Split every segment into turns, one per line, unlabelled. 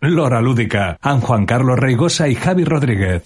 Lora Lúdica, An Juan Carlos Reigosa y Javi Rodríguez.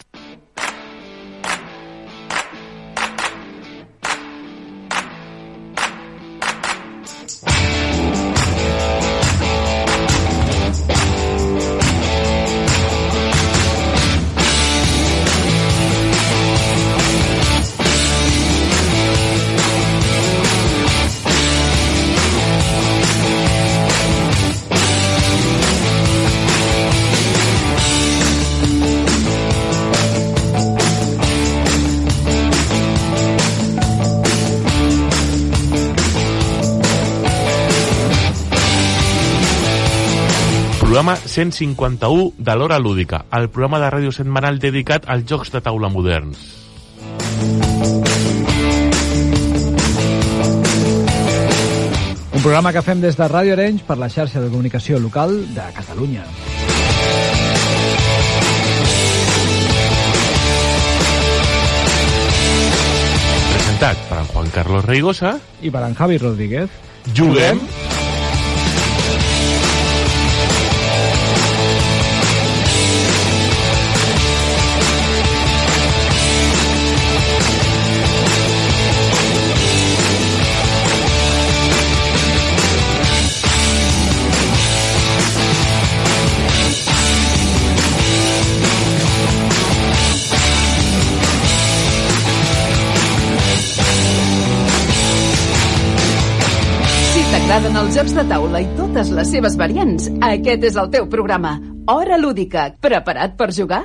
Programa 151 de l'Hora Lúdica, el programa de ràdio setmanal dedicat als jocs de taula moderns.
Un programa que fem des de Ràdio Arenys per la xarxa de comunicació local de Catalunya.
Presentat per en Juan Carlos Reigosa,
I per en Javi Rodríguez.
juguem...
Si t'agraden els jocs de taula i totes les seves variants, aquest és el teu programa. Hora lúdica. Preparat per jugar?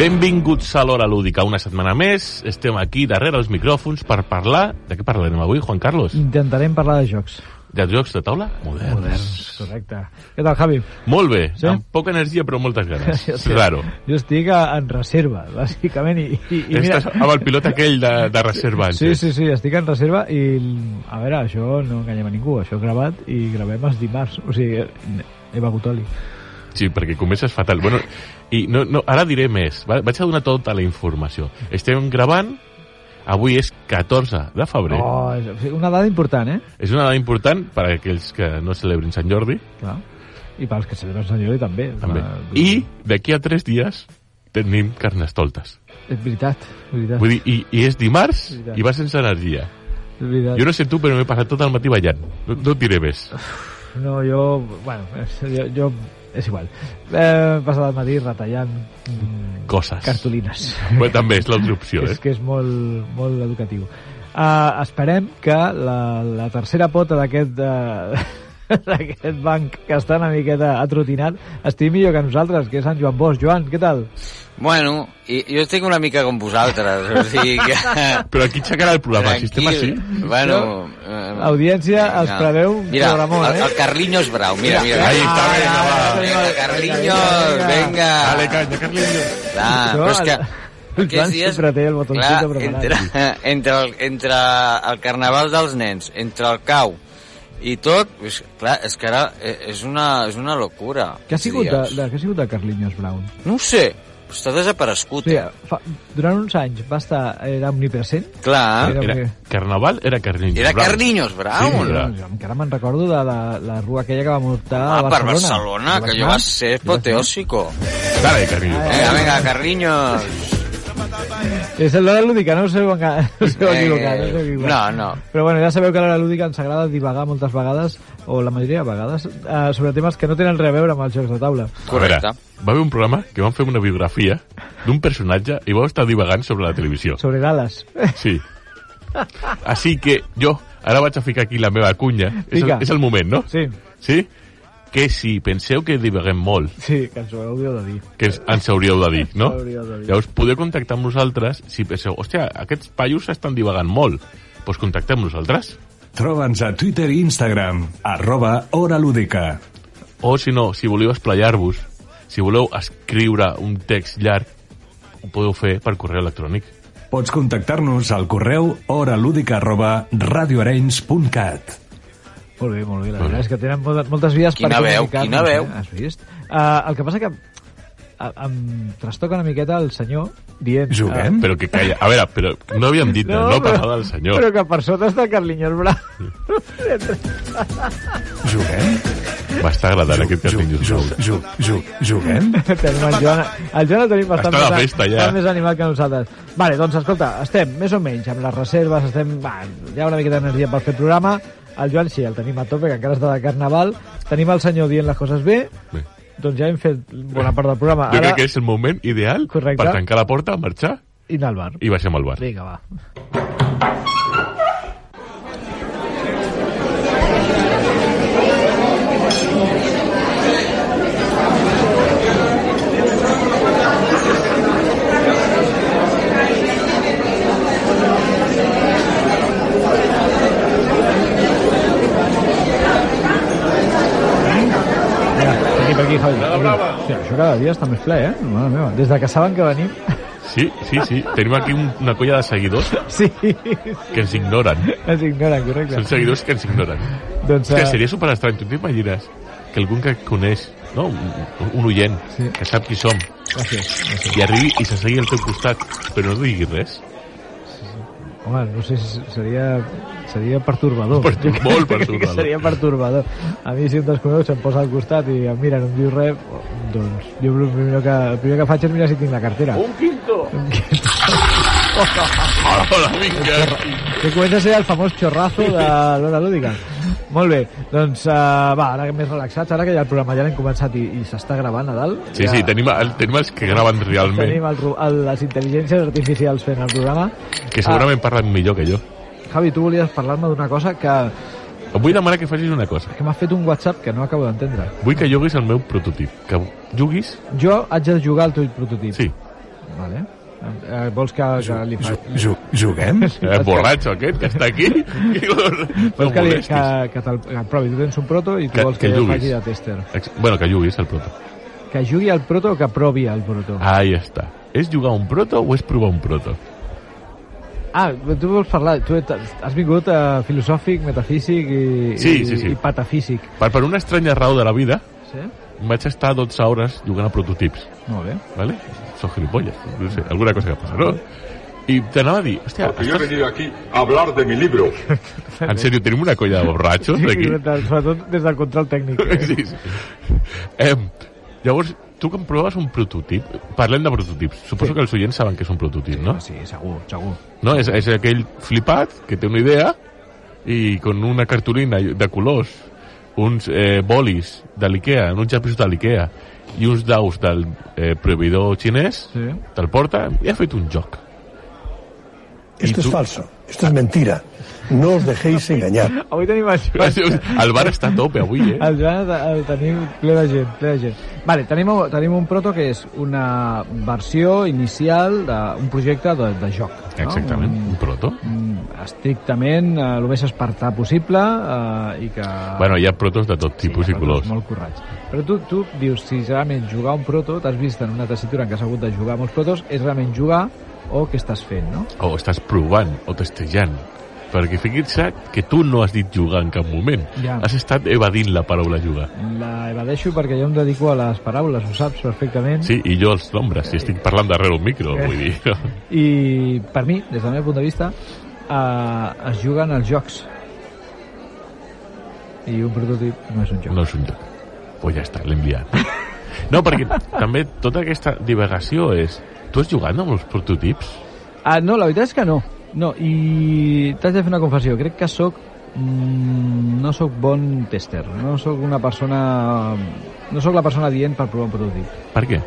Benvinguts a l'Hora Lúdica una setmana més. Estem aquí darrere els micròfons per parlar... De què parlarem avui, Juan Carlos?
Intentarem parlar de jocs
De jocs de taula moderns.
moderns, correcte. Què tal, Javi?
Molt bé,
Sí?
sí? amb poca energia però moltes ganes.
Jo estic-
Raro.
Jo estic a- en reserva, bàsicament, i, i, i mira...
Estàs amb el pilot aquell de, de reserva.
Sí,
antes.
sí, sí, estic en reserva i, a veure, això no enganyem a ningú, això he gravat i gravem els dimarts, o sigui, he begut oli.
Sí, perquè comences fatal. Bueno, i no, no, ara diré més. Va, vaig a donar tota la informació. Estem gravant... Avui és 14 de febrer. Oh.
Oh, és o sigui, una dada important, eh?
És una dada important per a aquells que no celebrin Sant Jordi,
Clar. I pels que celebren Sant Jordi també.
també.
Clar, vull
I
dir,
d'aquí a 3 dies tenim carnestoltes.
És veritat, veritat.
Vull dir, i, i és dimarts
Veritat.
i va sense energia.
és veritat.
Jo no sé tu, però m'he passat tot el matí ballant. No, no et diré més.
No, jo... Bueno, és, jo, jo és igual. Eh, he passat el matí retallant mm,
Coses.
cartolines.
Però també és l'altra opció, eh?
és que és molt, molt educatiu. Uh, esperem que la, la tercera pota d'aquest eh, d'aquest banc que està una miqueta atrotinat estigui millor que nosaltres, que és Sant Joan Bosch. Joan, què tal?
Bueno, i, jo estic una mica com vosaltres, o sigui que...
Però aquí aixecarà el programa, el sistema sí.
Tranquil. Bueno... Eh,
Audiència,
vinga.
es preveu un
mira,
programó,
el,
eh?
el Carlinhos Brau, mira, mira.
Ahí está,
Ah,
venga, va.
Vinga, Carlinhos, vinga.
Dale, canya, Carlinhos.
Això,
Clar, ah, però és que...
el
aquests
Joan
dies-
sempre té el botoncito
clar,
preparat.
Entre, entre, el, entre el carnaval dels nens, entre el cau i tot, és, clar, és que ara eh, és una, és una locura.
Què ha
aquests
sigut, de,
dies.
de, què ha sigut de Carlinhos Brown?
No ho sé, està
O
desaparegut. eh.
sigui, fa, durant uns anys va estar, era omnipresent,
Clar,
Era-
Era carnaval, era Carlinhos.
era
Bravo.
Carlinhos Brau,
Sí,
no?
era.
Jo Doncs encara me'n recordo de la, la rua aquella que va muntar
Ah,
a Barcelona.
per Barcelona, que jo va ser apoteòsico.
Dale, Carlinhos.
Vinga, vinga, Carlinhos.
És l'hora lúdica, no us heu, enga... no us heu
Eh,
equivocat. no us heu equivocat.
no, no.
Però bueno, ja sabeu que l'hora lúdica ens agrada divagar moltes vegades, o la majoria de vegades, eh, sobre temes que no tenen res a veure amb els jocs de taula.
Correcte.
A veure, va haver un programa que van fer una biografia d'un personatge i vau estar divagant sobre la televisió.
Sobre Dallas.
Sí. Així que jo ara vaig a ficar aquí la meva cunya. És el,
Fica.
és el moment, no?
Sí,
Sí? Que si penseu que divaguem molt,
sí, que ens ho hauríeu de dir.
que ens, ens hauríeu de dir, no?
Hauríeu de dir.
Llavors, podeu contactar amb nosaltres si penseu, hòstia, aquests paios estan divagant molt. Doncs pues contactem amb nosaltres.
Troba'ns a Twitter i Instagram, arroba Hora Lúdica.
O, si no, si voleu esplayar-vos, si voleu escriure un text llarg, ho podeu fer per correu electrònic.
Pots contactar-nos al correu horalúdica arroba radioarenys.cat.
Molt bé, molt bé. La veritat és que tenen moltes, moltes vies
Quina
per
veu,
comunicar-nos,
quina veu.
Eh? Has vist? Uh, el que passa que uh, em trastoca una miqueta el senyor dient... ah,
Juguem?
Però que calla. A veure, però no havíem dit, no, no parlava del senyor.
Però que per sota està el Carlinyol Brau.
Juguem?
M'està agradant aquest
Ju-
casting.
ju- ju- ju- Juguem?
Tenim el Joan, el Joan el tenim bastant,
Està de
més-
festa, ja.
bastant més animat que nosaltres. Vale, doncs escolta, estem més o menys amb les reserves, estem, va, hi ha una miqueta d'energia per fer programa. El Joan sí, el tenim a tope, que encara està de carnaval. Tenim el senyor dient les coses bé,
Bé.
doncs ja hem fet bona part del programa.
Jo crec que és el moment ideal
Correcte.
per tancar la porta, marxar
I anar al bar.
i baixem al bar.
Vinga, va. Mira, Aquí, per aquí, Javi. Hòstia, això cada dia està més ple, eh? Mare meva. Des de que saben que venim...
Sí, sí, sí. Tenim aquí un- una colla de seguidors
Sí,
que ens ignoren.
ens ignoren, correcte.
Són seguidors que ens ignoren.
Doncs,
Hòstia,
eh,
seria superestrany. Tu t'imagines que algun que coneix, no? un, un oient,
Sí.
que sap qui som,
Gràcies.
i arribi i se segui al teu costat, però no digui res.
Home, no sé si seria, seria pertorbador.
Pertur-
Jo
molt
crec que
pertorbador.
Seria pertorbador. A mi si un desconegut se'm posa al costat i em mira, no em diu res, doncs jo el primer que, el primer que faig és mirar si tinc la cartera.
Oh.
Uh.
Hola, hola, vinga.
Que comença a ser el famós xorrazo de l'hora lúdica. Molt bé, doncs uh, va, ara més relaxats, ara que ja el programa ja l'hem començat i, i s'està gravant a dalt.
Sí,
ja...
sí, tenim, el, tenim els que graven
Tenim
realment,
el, ru- el, les intel·ligències artificials fent el programa.
que segurament parlen millor que jo.
Javi, tu volies parlar-me d'una cosa que,
Et vull demanar que facis una cosa.
que m'ha fet un WhatsApp que no acabo d'entendre.
Vull que juguis el meu prototip. Que juguis?
Jo haig de jugar al teu prototip.
Sí.
Vale. Eh, vols que, que li faci...
Ju- Juguem?
Eh, borratxo aquest que està aquí. No
Vols que, li, que,
molestis.
que te'l que el provi. Tu tens un proto i tu
Que-
vols
que
que, jo
juguis.
faci de tester.
Ex- Bueno, que juguis el proto.
Que jugui al proto o que provi al proto? Ah,
Ahí està. És jugar un proto o és provar un proto?
ah tu vols parlar... Tu et- has vingut eh, filosòfic, metafísic i,
Sí,
i,
sí, sí.
i patafísic.
Per, per una estranya raó de la vida,
Sí?
vaig estar 12 hores jugant a prototips.
Molt bé.
¿vale? Son gilipollas. No sé, alguna cosa que pasa, ¿no? Y te anava a dir, hòstia,
Porque yo he venido aquí a hablar de mi libro.
en serio, tenim una colla de borratxos aquí?
Sobretot des del control tècnic. Eh?
Sí, sí. Em, llavors, tu que em proves un prototip, parlem de prototips, suposo que els oients saben que és un prototip, no?
Sí, segur, segur.
no? És, és aquell flipat que té una idea i con una cartolina de colors, uns eh, bolis de l'IKEA, uns llapisos de l'IKEA i uns daus del eh, proveïdor xinès,
Sí.
te'l porta i ha fet un joc.
Esto
¿Y
es
tú?
falso, esto es mentira. No os dejéis engañar.
Avui tenim el Joan
El bar està a tope avui, eh?
El Joan el, el tenim ple de gent, ple de gent. Vale, tenim, tenim un proto que és una versió inicial d'un projecte de, de joc. no?
Exactament, un proto.
Un, un Mm, estrictament eh, el més espartà possible eh, i que...
Bueno, hi ha protos de tot tipus
hi
i
ha protos
colors.
Molt corrats. Però tu, tu dius, si realment jugar un proto, t'has vist en una tessitura en què has hagut de jugar molts protos, és realment jugar o què estàs fent, no?
O estàs provant o testejant. Perquè fixi't que tu no has dit jugar en cap moment.
Ja.
Has estat evadint la paraula jugar.
La evadeixo perquè jo em dedico a les paraules, ho saps perfectament.
Sí, i jo els nombres, si estic parlant darrere un micro, vull dir.
I per mi, des del meu punt de vista, eh, es juguen els jocs. I un prototip no és un joc.
No és un joc. Pues ja està, l'hem liat. No, perquè també tota aquesta divagació és... Tu has jugat amb els prototips?
Ah, no, la veritat és que no. No, i t'haig de fer una confessió. Crec que sóc... Mm, no sóc bon tester. No sóc una persona... No sóc la persona dient per provar un prototip.
Per què?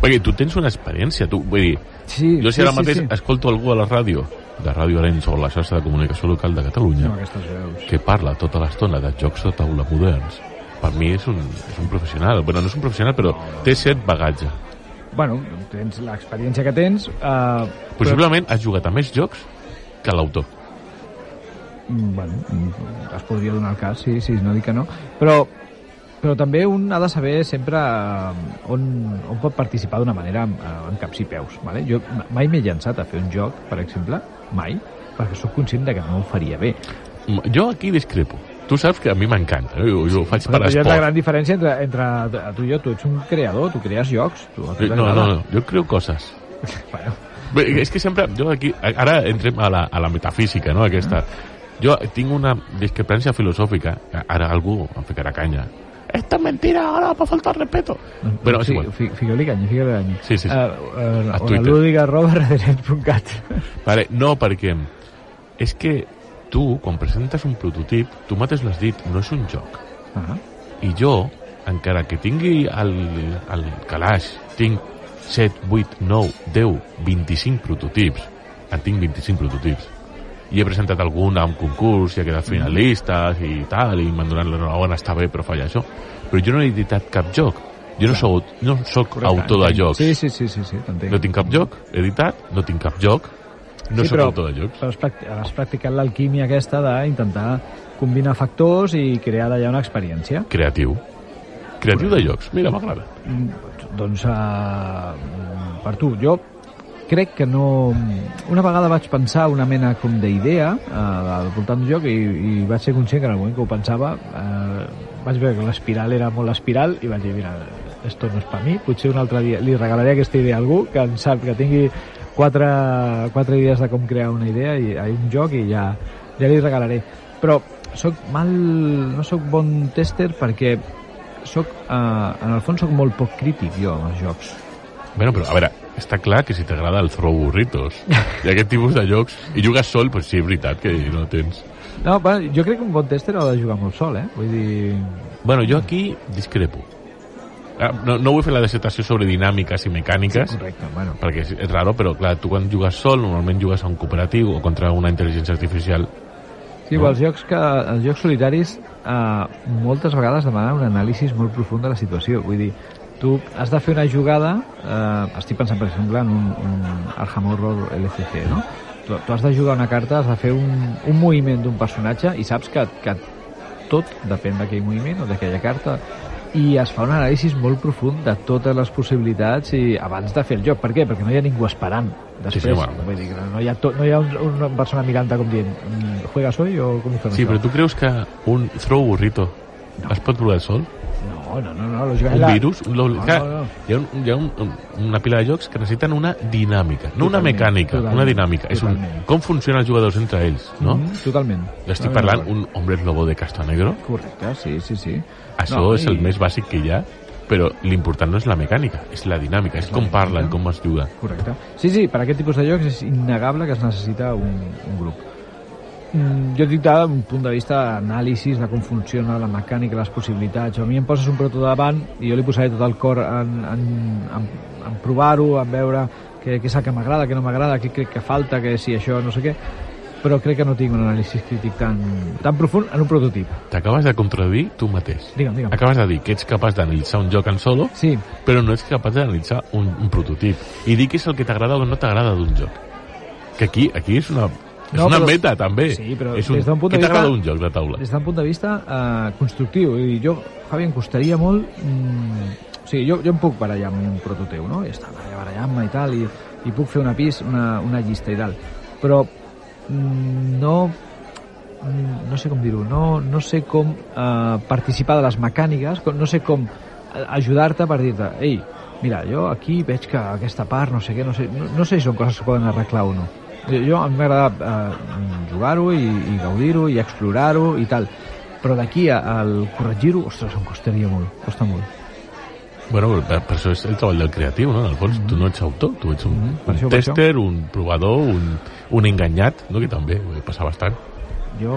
Perquè tu tens una experiència, tu, vull dir,
Sí,
jo si
sí,
ara
sí,
mateix
sí.
escolto algú a la ràdio, de Ràdio Arenys o la xarxa de comunicació local de Catalunya,
No, aquestes veus.
que parla tota l'estona de jocs de taula moderns, per mi és un, és un professional. Bueno, no és un professional, però té cert bagatge.
Bueno, tens l'experiència que tens, eh,
Possiblement ha jugat a més jocs que l'autor.
Mm, bueno, mm, es podria donar el cas, sí, sí, no dic que no, però, però també un ha de saber sempre eh, on, on pot participar d'una manera amb, eh, amb caps i peus. Vale? Jo m- mai m'he llançat a fer un joc, per exemple, mai, perquè sóc conscient de que no ho faria bé.
M- Jo aquí discrepo. Tu saps que a mi m'encanta, eh? jo, jo ho faig per
Però hi ha la
esport.
gran diferència entre, entre a tu i jo. Tu ets un creador, tu crees jocs. Tu, a tu
Eh, No, no,
t'agrada.
no, jo creo coses.
Bueno,
Bé, és que sempre, jo aquí, ara entrem a la, a la metafísica, no?,
Ah.
aquesta. Jo tinc una discrepància filosòfica, ara algú em ficarà canya. Esta es mentira, ahora va a faltar respeto. Però és
Mm, sí,
igual.
fi- Fica-li canya, fica-li canya.
Sí, sí, sí.
Uh,
A
uh,
Twitter.
lúdica arroba redenet.cat
Vale, no, perquè és que tu, quan presentes un prototip, tu mateix l'has dit, no és un joc.
ah,
I jo, encara que tingui al, al calaix, tinc 7, 8, 9, 10, 25 prototips, en tinc 25 prototips, i he presentat algun a un concurs i ha quedat finalistes i tal, i m'han donat l'enhorabona, està bé, però falla això. Però jo no he editat cap joc. Jo no soc, no soc autor de jocs.
Sí, sí, sí, sí, sí t'entenc.
No tinc cap joc editat, no tinc cap joc, no
Sí,
soc
però-
autor de jocs.
Però has, practi- has practicat l'alquímia aquesta d'intentar combinar factors i crear d'allà una experiència.
Creatiu. Creatiu de llocs. Mira, m'agrada.
Doncs eh, per tu, jo crec que no... Una vegada vaig pensar una mena com d'idea eh, al voltant d'un joc i, i vaig ser conscient que en el moment que ho pensava eh, vaig veure que l'espiral era molt espiral i vaig dir, mira, esto no és per mi, potser un altre dia li regalaré aquesta idea a algú que en sap, que tingui quatre, quatre idees de com crear una idea i a un joc i ja, ja li regalaré. Però sóc mal... no sóc bon tester perquè sóc, eh, en el fons sóc molt poc crític jo amb els jocs.
Bueno, però a veure, està clar que si t'agrada el throw burritos i aquest tipus de llocs, i jugues sol, doncs sí, és veritat que no tens...
No, bueno, jo crec que un bon tester ha de jugar molt sol, eh? Vull dir...
Bueno, jo aquí discrepo. Ah, No, no vull fer la dissertació sobre dinàmiques i mecàniques,
Correcte, bueno.
perquè és, és raro, però clar, tu quan jugues sol normalment jugues a un cooperatiu o contra una intel·ligència artificial.
Sí, però els jocs, que, els jocs solitaris eh, moltes vegades demanen un anàlisi molt profund de la situació. Vull dir, tu has de fer una jugada... Eh, estic pensant, per exemple, en un, un Arkham Horror LCC, no? Tu, tu has de jugar una carta, has de fer un, un moviment d'un personatge i saps que, que tot depèn d'aquell moviment o d'aquella carta i es fa un anàlisi molt profund de totes les possibilitats i abans de fer el joc. Per què? Perquè no hi ha ningú esperant. Després,
Sí, sí, bueno.
Vull dir que no hi ha, to, no hi ha un, una persona mirant-te com dient "Mm, ¿Juegas hoy o com ho fem
Sí,
això?"
però tu creus que un throw burrito es pot provar sol?
No, no, no, no lògicament...
un
la- Ah,
virus, un lobby.
No,
Clar,
no, no.
hi ha, un, hi ha un, un- una pila de jocs que necessiten una dinàmica, no una
Totalment,
mecànica,
totalment,
una dinàmica. És un,
totalment.
com funcionen els jugadors entre ells, no? Mm
Mhm, totalment.
-hmm. Estic
Totalment
parlant
d'acord.
un hombre lobo de Castanegro,
Correcte, sí, sí, sí.
això
No,
és el
i-
més bàsic que hi ha, però l'important no és la mecànica, és la dinàmica, és com parlen, com es juga.
Correcte. Sí, sí, per aquest tipus de jocs és innegable que es necessita un, un grup. Mm, jo et dic d'un punt de vista d'anàlisis, de com funciona la mecànica, les possibilitats. A mi em poses un proto davant i jo li posaré tot el cor en, en, en, en provar-ho, en veure què, què és el que m'agrada, què no m'agrada, què crec que falta, que si això, no sé què però crec que no tinc un anàlisi crític tan, tan profund en un prototip.
T'acabes de contradir tu mateix.
Digue'm, digue'm.
Acabes de dir que ets capaç d'analitzar un joc en solo,
Sí,
però no ets capaç d'analitzar un, un prototip. I dir què és el que t'agrada o no t'agrada d'un joc. Que aquí, aquí és una... És
No,
una
però-
meta, també.
Sí, però
és un,
des d'un punt de
Què t'agrada
vista-
un joc de taula?
des d'un punt de vista eh, constructiu. I jo, Javi, em costaria molt... Mm, o sigui, jo, jo em puc barallar amb un prototeu, no? I estar allà barallant-me i tal, i, i puc fer una pis, una, una llista i tal. Però mm, no mm, no sé com dir-ho, no, no sé com eh, participar de les mecàniques, com- no sé com eh, ajudar-te per dir-te, ei, mira, jo aquí veig que aquesta part, no sé què, no sé, no, no sé si són coses que poden arreglar o no. Jo, jo a mi m'agrada eh, jugar-ho i, i gaudir-ho i explorar-ho i tal, però d'aquí a- al corregir-ho, ostres, em costaria molt, costa molt.
Bueno, però per, per això és el treball del creatiu, no? En el fons, mm -hmm. tu no ets autor, tu ets un, mm
Mm-hmm. per
-hmm.
això,
un
per
tester, un provador, un, un enganyat, no? que també eh, passa bastant.
Jo...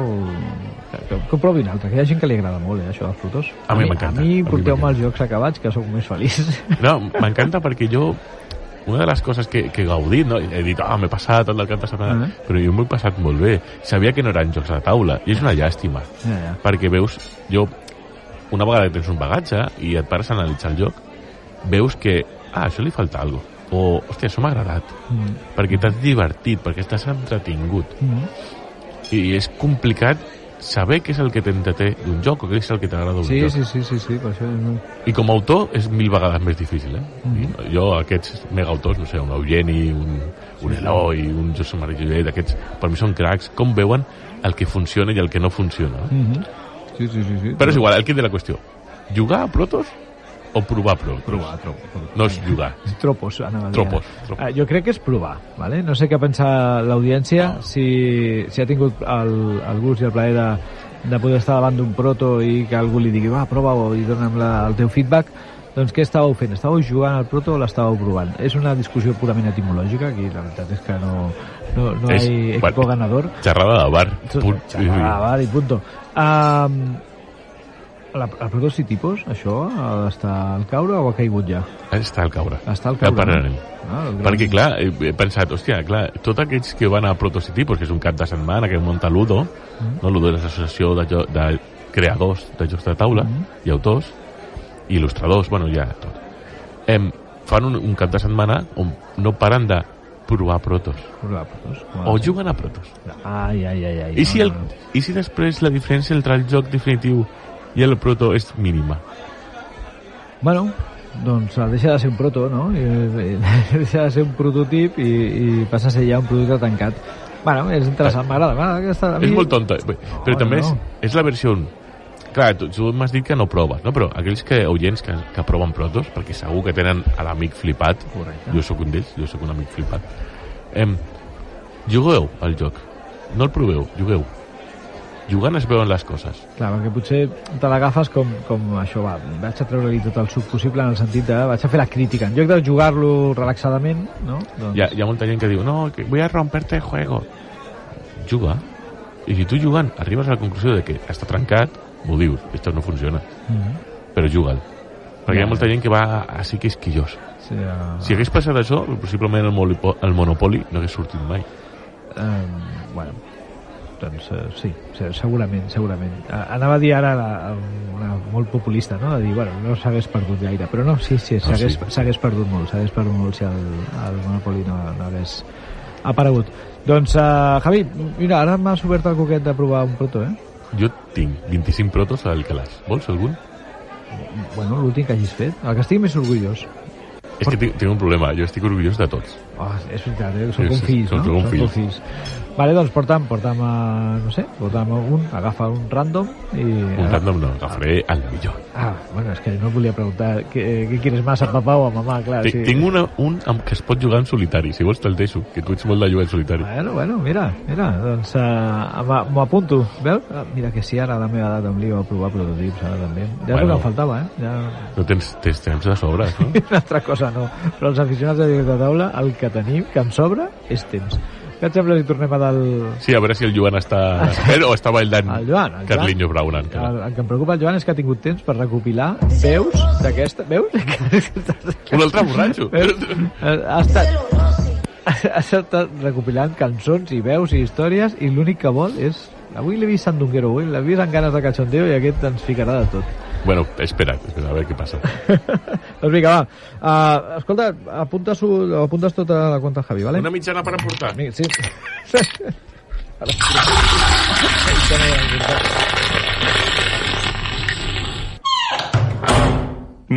Que comprovi un altre, que hi ha gent que li agrada molt, eh, això dels frutos.
A mi m'encanta,
A mi,
a mi
porteu-me
m'encanta.
els jocs acabats, que sóc més feliç.
No, m'encanta perquè jo... Una de les coses que, que he gaudit, no? he dit, ah, m'he passat tot el canta sonada,
Ah.
però jo m'ho he passat molt bé. Sabia que no eren jocs de taula, i és una llàstima,
ja, ja.
perquè veus, jo, una vegada que tens un bagatge i et pares a analitzar el joc, veus que, ah, això li falta alguna cosa, o, hòstia, això m'ha agradat,
Mm.
perquè t'has divertit, perquè estàs entretingut,
Mm.
i és complicat saber què és el que t'entreté d'un joc o què és el que t'agrada d'un
Sí,
joc.
sí, sí, sí, sí, per això... és molt-
I com a autor és mil vegades més difícil, eh? Mm -hmm. Jo, aquests megaautors, no sé, un Eugeni, un, un Eloi, un Josep Maria Jollet, aquests per mi són cracs, com veuen el que funciona i el que no funciona. Mm.
Mhm. Sí, sí, sí, sí.
Però és igual, el que de la qüestió. Jugar a protos o provar protos?
Provar, tro-
No és jugar.
Tropos, anava a dir.
Tropos, tropos.
Ah, jo crec que és provar, vale? no sé què pensa l'audiència, si, si ha tingut el, el gust i el plaer de, de poder estar davant d'un proto i que algú li digui, va, prova-ho i dona'm la, el teu feedback, doncs què estàveu fent? Estàveu jugant al proto o l'estàveu provant? És una discussió purament etimològica, aquí la veritat és que no, no, no
És-
hi ha
bueno.
equipo ganador.
Xerrada de bar. Punt.
Ah, vale, punto. Um, la, el proto sí tipus, això, ha d'estar al caure o ha caigut ja?
Està al caure.
Està al
Ja
caure.
parlarem.
Ah, el gran-
Perquè, clar, he he pensat, hòstia, clar, tots aquells que van a Protocitipos, que és un cap de setmana que munta l'Udo,
Mm.
no? l'Udo és l'associació de, jo- de creadors de jocs de taula
Mm.
i autors, i il·lustradors, bueno, ja tot. Em, fan un, un cap de setmana on no paren de provar protos.
Provar protos. com ha de
O
ser.
juguen a protos.
doncs, Ai, ai, ai, ai.
Oh, I si, el,
no, no, no.
I si després la diferència entre el joc definitiu i el proto és mínima?
Bueno, doncs deixa de ser un proto, no? I, i, deixa de ser un prototip i, i passa a ser ja un producte tancat. Bueno, és interessant, m'agrada, m'agrada aquesta... a
Ah. És
mi-
molt tonta, bé, però
No,
també és,
no.
és la versió... un. Clar, tu, tu m'has dit que no proves, no? però aquells que, oients que, que proven protos, perquè segur que tenen a l'amic flipat,
Correcte.
jo sóc un d'ells, jo sóc un amic flipat, em, jugueu al joc, no el proveu, jugueu. Jugant es veuen les coses.
Clar, perquè potser te l'agafes com, com això, va, vaig a treure-li tot el suc possible en el sentit de... Vaig a fer la crítica. En lloc de jugar-lo relaxadament, no? Doncs,
Hi ha, hi ha molta gent que diu, no, que voy a romperte el juego. Juga. I si tu jugant arribes a la conclusió de que està trencat, m'ho dius, esto no funciona,
Mhm.
però juga'l. Perquè hi
Ja,
ha molta gent que va així que quisquillós.
Sí, eh,
Si hagués passat això, possiblement el, molipo, el Monopoli no hagués sortit mai.
Eh, bueno, doncs eh, sí, se- segurament, segurament. Eh, anava a dir ara la, una molt populista, no? De dir, bueno, no s'hagués perdut gaire, però no, sí, sí,
Ah,
s'hagués
sí.
s'hagués perdut molt, s'hagués perdut molt si el, el Monopoli no, no hagués aparegut. Doncs, eh, Javi, mira, ara m'has obert el coquet de provar un proto, eh?
Jo tinc 25 protos al calaix. Vols algun?
Bueno, l'últim que hagis fet, el que estic més orgullós.
És que tinc, tinc un problema, jo estic orgullós de tots.
Oh, és veritat, eh? són
Sí, sí,
confis,
són
no?
com fills.
confis. Vale, doncs porta'm, porta'm, a, no sé, porta'm a un, agafa un random i... eh,
Un random no, agafaré el millor.
Ah, bueno, és que no et volia preguntar què, què quieres más, a papà o a mamà, clar.
Tinc, tinc una, un amb què es pot jugar en solitari, si vols te'l deixo, que tu ets molt de jugar en solitari.
Bueno, bueno, mira, mira, doncs uh, m'ho apunto, veus? Ah, mira que sí, ara a la meva edat em lio a provar prototips, ara també. Ja bueno.
Bueno.
no faltava, eh? Ja...
No tens, tens temps de sobres, no?
Una altra cosa no, però els aficionats de jocs de taula, el que tenim, que em sobra, és temps. Què et sembla si tornem a del...
Sí, a veure si el Joan està... Espera, o està ballant
Al Joan, al Joan.
Carlinhos Brown encara.
El, el, que em preocupa el Joan és que ha tingut temps per recopilar veus d'aquesta... Veus?
Un altre borratxo.
Eh? ha estat... Has estat recopilant cançons i veus i històries i l'únic que vol és... Avui l'he vist sandunguero, avui l'he vist amb ganes de cachondeo i aquest ens ficarà de tot.
bueno, espera't, espera't, a veure què passa.
doncs vinga, va. Uh, escolta, apuntes, apuntes tota la cuenta al Javi, vale?
Una mitjana per emportar.
Vinga, sí.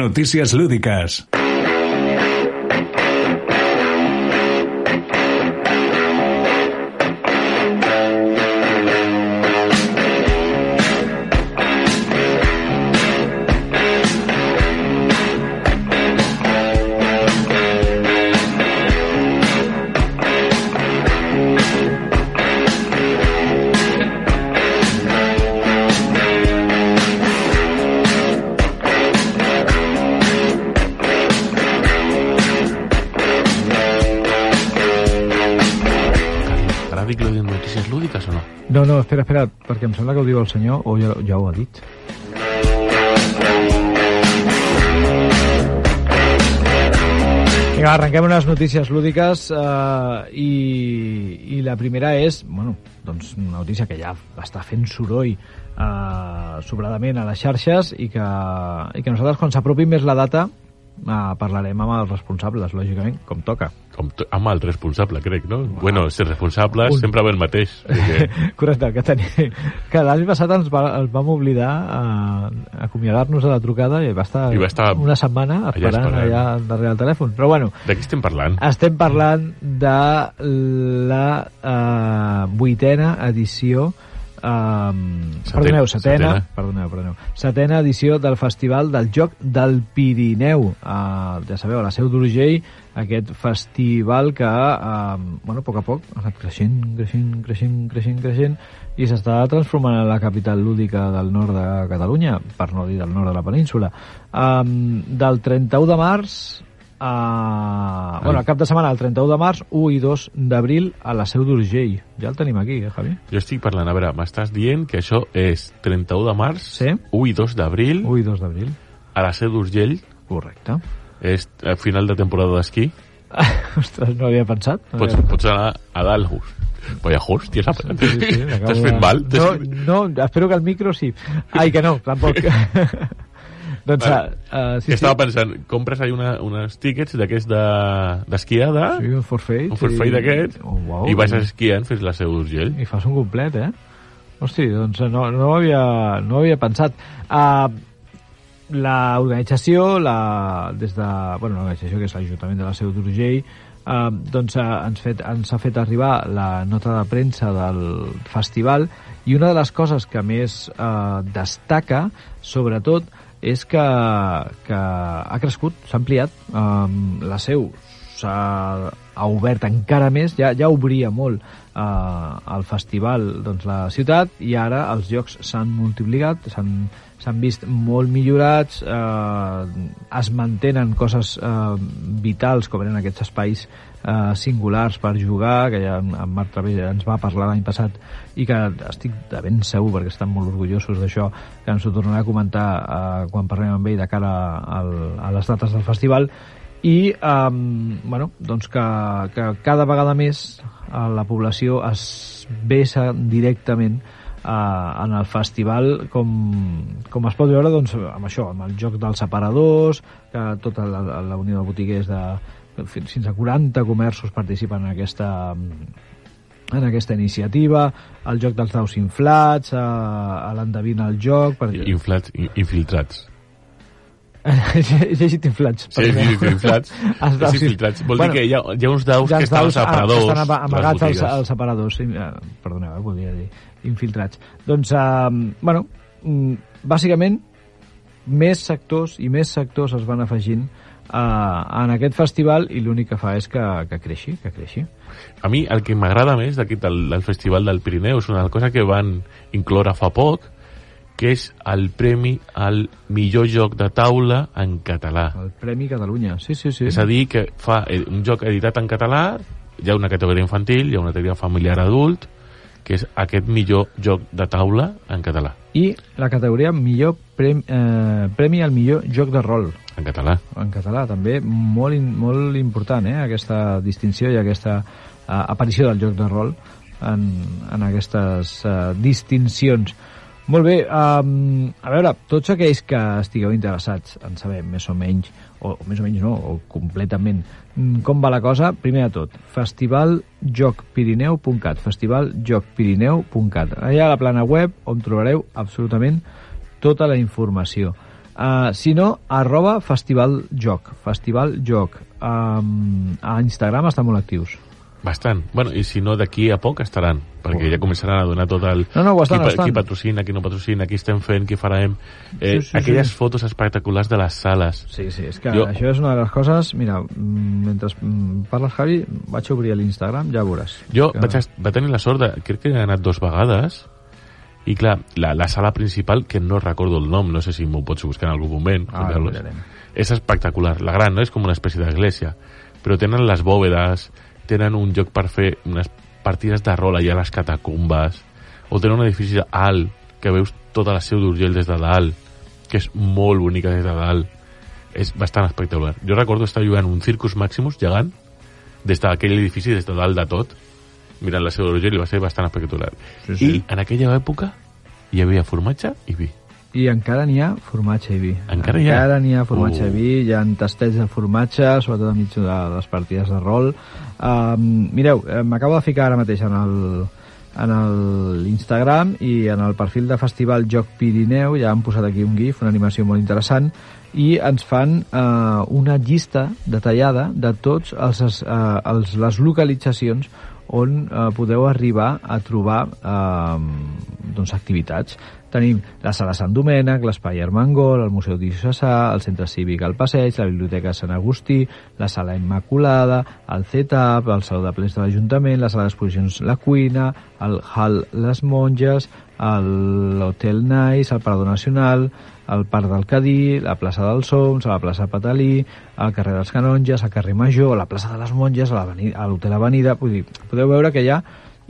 Noticias lúdicas.
no, espera, espera, perquè em sembla que ho diu el senyor, o ja, ja ho ha dit. Vinga, arrenquem unes notícies lúdiques eh, i, i la primera és, bueno, doncs una notícia que ja està fent soroll eh, sobradament a les xarxes i que, i que nosaltres quan s'apropi més la data eh, parlarem amb els responsables, lògicament, com toca.
Com to- amb el responsable, crec, no? Bueno, ser responsable
Un.
sempre ve el mateix. Perquè...
Correcte, que, teni... que l'any passat ens, va, ens vam oblidar a acomiadar-nos de la trucada i va estar,
I va estar
una setmana
allà
esperant, allà,
esperant.
darrere el telèfon. Però bueno,
De què estem parlant?
estem parlant de la eh, vuitena edició eh,
Setena-
perdoneu, setena,
setena.
perdoneu, perdoneu, setena edició del Festival del Joc del Pirineu eh, ja sabeu, a la Seu d'Urgell aquest festival que eh, bueno, a poc a poc ha anat creixent creixent, creixent, creixent, creixent i s'està transformant en la capital lúdica del nord de Catalunya, per no dir del nord de la península. Um, del 31 de març a... Bueno, el cap de setmana, el 31 de març, 1 i 2 d'abril, a la Seu d'Urgell. Ja el tenim aquí, eh, Javi?
Jo estic parlant, a veure, m'estàs dient que això és 31 de març,
Sí.
1 i 2 d'abril,
1 i 2 d'abril,
a la Seu d'Urgell,
correcte.
és a final de temporada d'esquí,
Ostres, no havia pensat. No
pots,
havia...
pots anar a Dalhus. Vaya host, tia, sap?
Sí, sí, sí, acabo
T'has
de-
fet mal? T'has-
No, no, espero que el micro sí. Ai, que no, tampoc. doncs,
Vale.
uh, sí,
Estava pensant, compres ahí una, unes tickets d'aquests de- d'esquiada,
sí, un forfait.
un forfait
i-
d'aquest,
Oh, uau.
i vas esquiant fins a la Seu d'Urgell.
I fas un complet, eh? Hosti, doncs no, no, ho havia, no ho havia pensat. Uh, L'organització, la, des de... Bueno, l'organització que és l'Ajuntament de la Seu d'Urgell, uh, doncs uh, ens, fet, ens ha fet arribar la nota de premsa del festival i una de les coses que més uh, destaca, sobretot, és que, que ha crescut, s'ha ampliat um, la seu s'ha ha obert encara més, ja, ja obria molt eh, el festival doncs, la ciutat i ara els jocs s'han multiplicat, s'han s'han vist molt millorats, eh, es mantenen coses eh, vitals com eren aquests espais eh, singulars per jugar, que ja en en Marc Travella ens va parlar l'any passat i que estic de ben segur, perquè estan molt orgullosos d'això, que ens ho tornarà a comentar eh, quan parlem amb ell de cara al, a les dates del festival, i um, bueno, doncs que, que cada vegada més eh, la població es vessa directament eh, en el festival com, com es pot veure doncs, amb això, amb el joc dels separadors que tota la, la unió de botiguers de, fins, fins a 40 comerços participen en aquesta, en aquesta iniciativa el joc dels daus inflats a, a l'endevina el joc per...
Inflats, i- infiltrats.
he llegit inflats
Sí, sí, sí, inflats.
Els daus
Sí, infiltrats. Vol dir
Bueno,
que hi ha, hi ha uns daus
Ja
que
els
estan als
daus, ah,
aparadors.
que estan ama-
de les
amagats als,
botigues.
als aparadors. Sí, eh, perdoneu, eh, volia dir infiltrats. Doncs, eh, bueno, mm, bàsicament, més sectors i més sectors es van afegint eh, en aquest festival i l'únic que fa és que, que creixi, que creixi.
A mi el que m'agrada més d'aquest del, del Festival del Pirineu és una cosa que van incloure fa poc, que és el premi al millor joc de taula en català.
El Premi Catalunya, sí, sí, sí.
És a dir, que fa eh, un joc editat en català, hi ha una categoria infantil, hi ha una categoria familiar adult, que és aquest millor joc de taula en català.
I la categoria millor premi, eh, premi al millor joc de rol.
En català.
en català també molt, in, molt important eh, aquesta distinció i aquesta eh, aparició del joc de rol en, en aquestes eh, distincions molt bé, um, a veure, tots aquells que estigueu interessats en saber més o menys, o, o més o menys no, o completament, mm, com va la cosa, primer de tot, festivaljocpirineu.cat, festivaljocpirineu.cat. Allà a la plana web on trobareu absolutament tota la informació. Uh, si no, arroba festivaljoc, festivaljoc. Um, a Instagram estan molt actius.
Bastant. Bueno, i si no, d'aquí a poc estaran, perquè ja començaran a donar tot el...
No, no, ho estan,
qui,
ho
pa-
estan.
qui patrocina, qui no patrocina, qui estem fent, qui farem... Eh,
Sí, sí, sí.
aquelles fotos espectaculars de les sales.
Sí, sí, és que
Jo-
jo... això és una de les coses... Mira, mm, mentre mm, parles, Javi, vaig obrir l'Instagram, ja ho veuràs.
Jo
que...
vaig, est- va tenir la sort de... Crec que he anat dos vegades, i clar, la, la sala principal, que no recordo el nom, no sé si m'ho pots buscar en algun moment,
Ah,
Carlos,
mirarem.
és espectacular. La gran, no? És com una espècie d'església. Però tenen les bòvedes, tenen un lloc per fer unes partides de rol allà a les catacumbes, o tenen un edifici alt que veus tota la seu d'Urgell des de dalt que és molt bonica des de dalt és bastant espectacular jo recordo estar jugant un Circus Maximus gegant des d'aquell edifici des de dalt de tot mirant la seu d'Urgell i va ser bastant espectacular
Sí,
sí,
sí.
sí. i en aquella època hi havia formatge i vi
I encara n'hi ha formatge i vi.
Encara hi ha?
Encara n'hi ha formatge
Uh.
i vi, hi ha tastells de formatge, sobretot a mig de les partides de rol. Um, mireu, eh, m'acabo de ficar ara mateix en el en l'Instagram i en el perfil de Festival Joc Pirineu ja han posat aquí un gif, una animació molt interessant i ens fan eh, una llista detallada de tots els, es- eh, els, les localitzacions on eh, podeu arribar a trobar eh, doncs, activitats Tenim la Sala Sant Domènec, l'Espai Armengol, el Museu Diocesà, el Centre Cívic al Passeig, la Biblioteca Sant Agustí, la Sala Immaculada, el CETAP, el Saló de Plens de l'Ajuntament, la Sala d'Exposicions La Cuina, el Hall Les Monges, el- l'Hotel Nice, el Parador Nacional, el Parc del Cadí, la plaça dels Soms, a la plaça Patalí, al carrer dels Canonges, al carrer Major, a la plaça de les Monges, a l'aveni- a l'Hotel Avenida... Vull dir, podeu veure que hi ha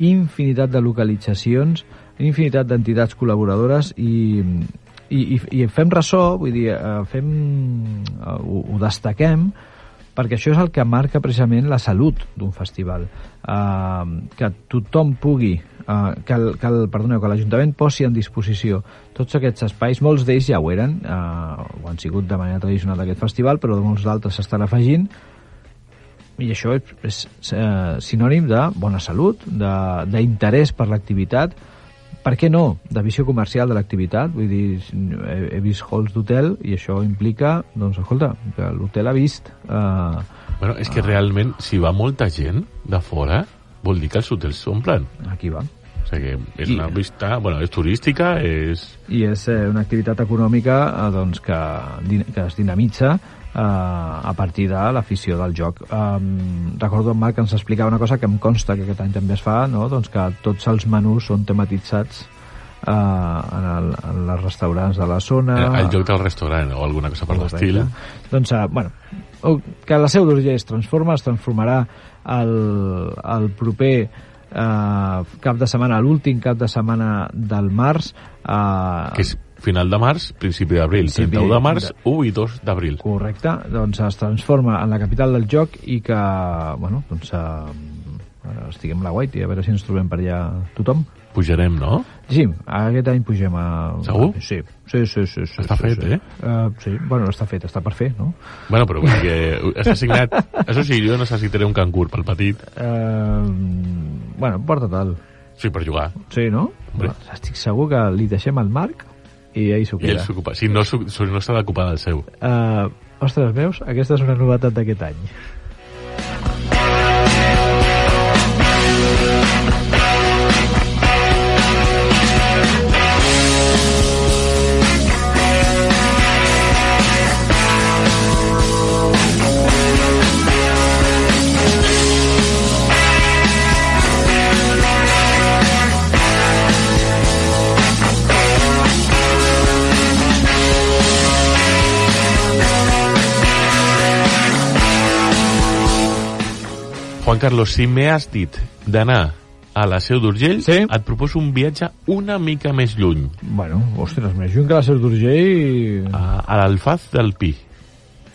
infinitat de localitzacions, infinitat d'entitats col·laboradores i, i, i, i fem ressò, vull dir, eh, fem, eh, ho, ho destaquem, perquè això és el que marca precisament la salut d'un festival. Eh, que tothom pugui, eh, que, el, que, el, perdoneu, que l'Ajuntament posi en disposició tots aquests espais, molts d'ells ja ho eren, eh, ho han sigut de manera tradicional d'aquest festival, però molts d'altres s'estan afegint, i això és, és eh, sinònim de bona salut, de- d'interès per l'activitat, per què no, de visió comercial de l'activitat, vull dir, he, he vist halls d'hotel i això implica, doncs, escolta, que l'hotel ha vist... Eh,
bueno, és que realment si va molta gent de fora vol dir que els hotels s'omplen
aquí va.
o sigui que és
I-
una vista bueno, és turística és
I és eh, una activitat econòmica eh, doncs, que, din- que es dinamitza eh, a partir de l'afició del joc. Um, recordo en Marc que ens explicava una cosa que em consta que aquest any també es fa, no? doncs que tots els menús són tematitzats eh, en, el, en els restaurants de la zona...
eh, el lloc del restaurant o alguna cosa per
Correcte.
l'estil
Doncs, eh, bueno, o- que la seu d'Urgell es transforma, es transformarà el, el proper eh, cap de setmana, l'últim cap de setmana del març. Eh,
que és final de març, principi d'abril,
Principi
31 de març,
de-
1 i 2 d'abril.
Correcte, doncs es transforma en la capital del joc i que, bueno, doncs eh, estiguem a la guaita i a veure si ens trobem per allà tothom.
Pujarem, no?
Sí, aquest any pugem a... Ah,
Segur?
Sí, sí, sí. sí, sí
Està
sí,
fet, eh?
sí. Uh, sí, bueno, està fet, està per fer, no?
Bueno, però vull dir que està assignat... Això sí, jo necessitaré un cangur pel petit,
Uh, bueno, porta tal.
sí, per jugar.
Sí, no? Doncs
Hombre.
Estic segur que li deixem al Marc i ell s'ho
I ell
queda.
s'ocupa. Si no, s'ho- si no s'ha d'ocupar del seu.
Uh, ostres, veus? Aquesta és una novetat d'aquest any.
Juan Carlos, si m'has dit d'anar a la Seu d'Urgell,
Sí.
et proposo un viatge una mica més lluny,
Bueno, ostres, més lluny que la Seu d'Urgell... Ah.
a, a l'Alfaz del Pi.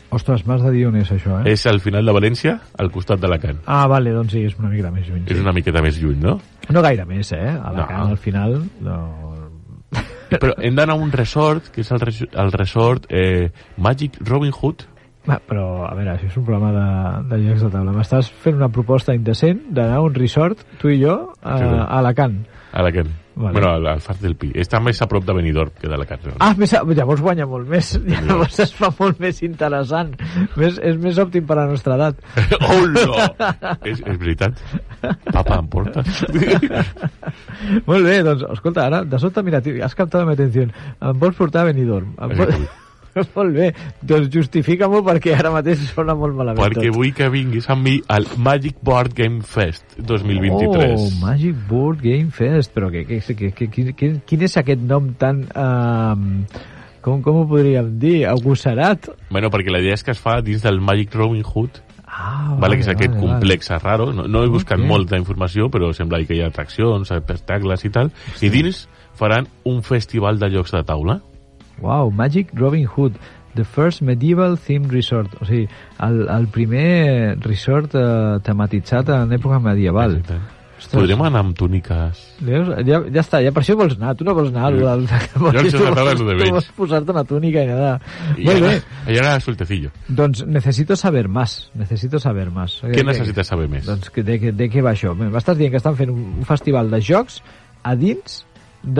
Ostres, m'has de dir on és això, eh?
És al final de València, al costat d'Alacant.
Ah, vale, doncs sí, és una mica més lluny.
És una miqueta més lluny, no?
No gaire més, eh? A la
No.
no. al final... No...
Però hem d'anar a un resort, que és el, res el resort eh, Magic Robin Hood,
Va, però, a veure, això és un programa de, de llocs de taula. M'estàs fent una proposta indecent d'anar a un resort, tu i jo, a,
Sí, sí.
a Alacant.
A la Can.
Vale.
Vale. Bueno, al, al Far del Pi. Està més a prop de Benidorm que de la Can.
Ah, més, a- llavors guanya molt més. Llavors es fa molt més interessant. Més, és més òptim per a la nostra edat.
oh, no! és, és veritat. Papa, em portes?
Molt bé, doncs, escolta, ara, de sobte, mira, tio, has captat la meva atenció. Em vols portar a Benidorm? Em vols... molt bé, doncs justifica-m'ho perquè ara mateix sona molt malament
Perquè
tot.
vull que vinguis amb mi al Magic Board Game Fest 2023.
Oh, Magic Board Game Fest, però que, que, que, que, que, que, quin és aquest nom tan... Uh, com, com ho podríem dir? Agosserat?
bueno, perquè la idea és que es fa dins del Magic Robin Hood
Ah,
vale, que és aquest complex raro. No, no he buscat okay. molta informació, però sembla que hi ha atraccions, espectacles i tal. I dins faran un festival de llocs de taula.
Wow, Magic Robin Hood, the first medieval themed resort. O sigui, el, el primer resort eh, tematitzat en època medieval. Ostres.
Podrem anar amb túniques.
Veus? Ja, ja està, ja per això vols anar. Tu no vols anar. Sí. Del,
Llocs de Nadal és de
tu
vells.
vols posar-te una túnica i anar.
I
Molt
ara,
bé.
allà era soltecillo.
Doncs necessito saber más. Necessito saber más.
Què necessites saber més?
Doncs que- de, de, de què va això? M'estàs dient que estan fent un un festival de jocs a dins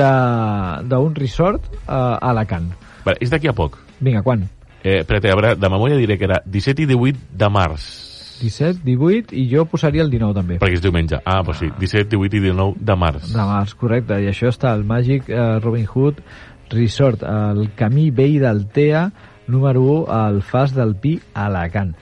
de- d'un resort eh, a Alacant.
Vale, és d'aquí a poc.
Vinga, quan?
Eh, espérate, ara, de memòria diré que era 17 i 18 de març.
17, 18 i jo posaria el 19 també.
Perquè és diumenge. Ah, doncs sí, 17, 18 i 19 de març.
De març, correcte. I això està al Magic eh, Robin Hood Resort, al camí vell d'Altea, número 1, al Fas del Pi, a Alacant.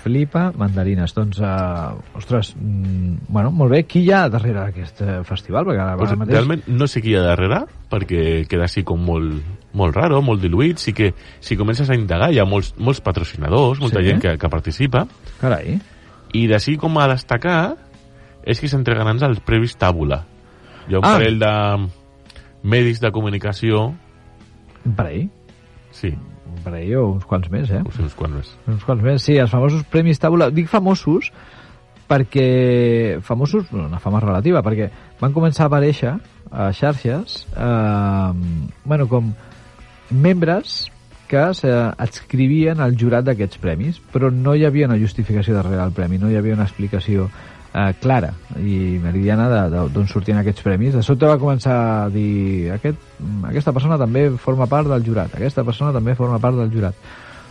Flipa mandarines. Doncs, eh, ostres, mm, bueno, molt bé. Qui hi ha darrere d'aquest eh, festival? Perquè ara,
Pues,
ara mateix...
Doncs realment no sé qui hi ha darrere, perquè queda així com molt, molt raro, molt diluït. Sí que si comences a indagar hi ha molts, molts patrocinadors, molta
Sí.
sí. gent que, que participa.
Carai.
I d'ací com a destacar és que s'entregaran els previs tàbula. Hi ha un
Ah.
ah. parell de medis de comunicació...
Un parell.
Sí,
Un parell o uns quants més, eh?
no sé uns quants més.
Uns quants més, sí, els famosos Premis Tàbula. Dic famosos perquè... Famosos, bueno, una fama relativa, perquè van començar a aparèixer a xarxes, eh, bueno, com membres que s'adscrivien al jurat d'aquests premis, però no hi havia una justificació darrere del premi, no hi havia una explicació eh, clara i meridiana de- de- d'on sortien aquests premis. De sobte va començar a dir aquest, aquesta persona també forma part del jurat, aquesta persona també forma part del jurat.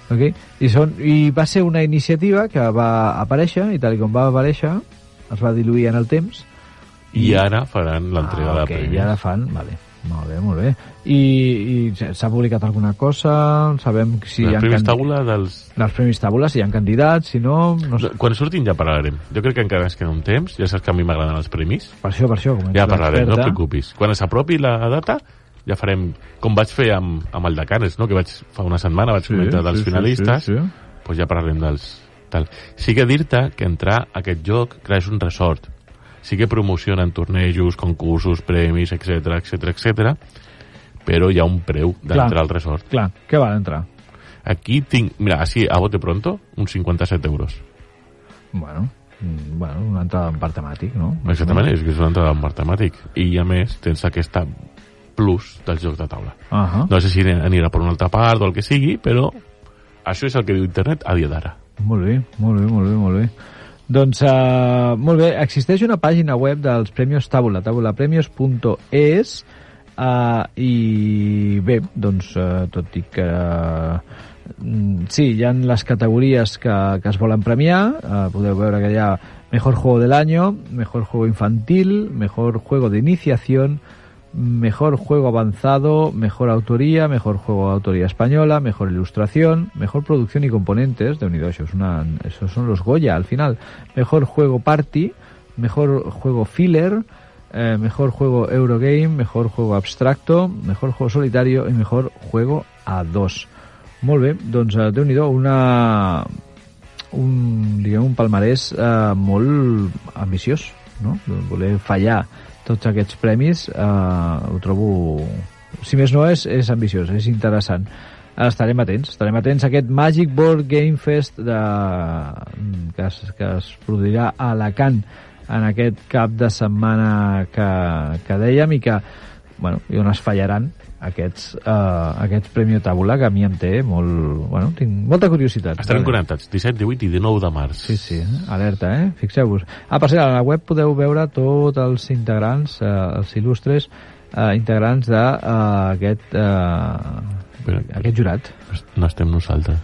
Okay? I, són, I va ser una iniciativa que va aparèixer, i tal i com va aparèixer, es va diluir en el temps,
I ara faran l'entrega
ah,
de
ok,
premis.
Ja la fan, vale. Molt bé, molt bé. I, i s'ha- s'ha publicat alguna cosa? Sabem si hi
els
ha...
premis
candi-
tàbula dels...
dels Premis Tàbula, si hi ha candidats, si no... no sé.
No, Quan surtin ja parlarem. Jo crec que encara ens queda un temps. Ja saps que a mi m'agraden els premis.
Per això, per això. com ets
Ja parlarem, no et
l'experta.
preocupis. Quan s'apropi la data, ja farem... Com vaig fer amb, amb el de Canes, no? que vaig fa una setmana, vaig sí, comentar dels sí, finalistes, sí, sí, sí. Doncs ja parlarem dels... Tal. Sí que dir-te que entrar a aquest joc clar, és un resort. Sí que promocionen tornejos, concursos, premis, etc etc etc. però hi ha un preu
Clar.
d'entrar al resort.
Clar, què val entrar?
Aquí tinc, mira, així, a bote pronto, uns 57 euros.
Bueno, mm, bueno una entrada en part temàtic, no?
Exactament, és que és una entrada en matemàtic. I a més, tens aquesta plus del joc de taula.
Ah
No sé si anirà per una altra part o el que sigui, però això és el que diu internet a dia d'ara.
Molt bé, molt bé, molt bé, molt bé. Doncs, uh, molt bé, existeix una pàgina web dels Premios Tàbula, tabulapremios.es, uh, i bé, doncs, uh, tot i que... mm, Sí, hi ha les categories que, que es volen premiar, uh, podeu veure que hi ha Mejor Juego del Año, Mejor Juego Infantil, Mejor Juego de Iniciación, Mejor juego avanzado, mejor autoría, mejor juego de autoría española, mejor ilustración, mejor producción y componentes de Unido. Eso es una, esos son los Goya al final. Mejor juego party, mejor juego filler, eh, mejor juego Eurogame, mejor juego abstracto, mejor juego solitario y mejor juego a dos. Molt bé, doncs eh, Déu-n'hi-do, una... un, diguem, un palmarès eh, molt ambiciós, no? Voler fallar tots aquests premis eh, ho trobo... Si més no, és, és ambiciós, és interessant. Estarem atents, estarem atents a aquest Magic Board Game Fest de... que, es, que es produirà a Alacant en aquest cap de setmana que, que dèiem i que bueno, i on es fallaran aquests, eh, aquests Premi Tàbula que a mi em té molt... Bueno, tinc molta curiositat.
Estarem connectats 17, 18 i 19 de març.
Sí, sí, eh? alerta, eh? Fixeu-vos. Ah, per cert, a la web podeu veure tots els integrants, eh, els il·lustres eh, integrants d'aquest eh, aquest, eh,
Però-
aquest jurat,
No estem nosaltres.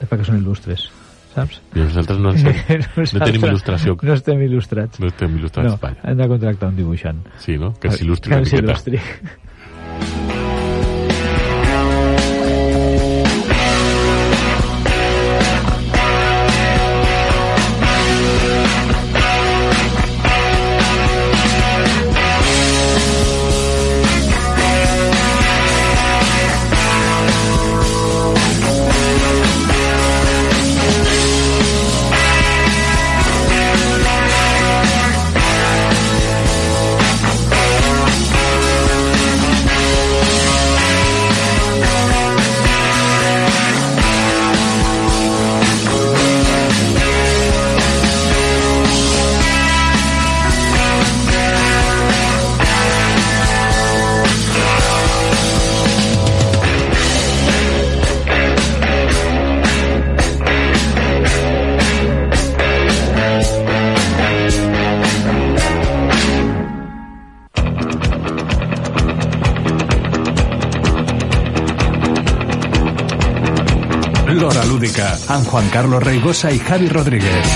és perquè són il·lustres, saps?
I nosaltres no, estem, no tenim il·lustració.
No estem il·lustrats.
No estem il·lustrats,
No,
no. vaja.
hem de contractar un dibuixant.
Sí, no? Que ens il·lustri una
Que ens
miqueta.
il·lustri.
Lora Lúdica, amb Juan Carlos Reigosa i Javi Rodríguez.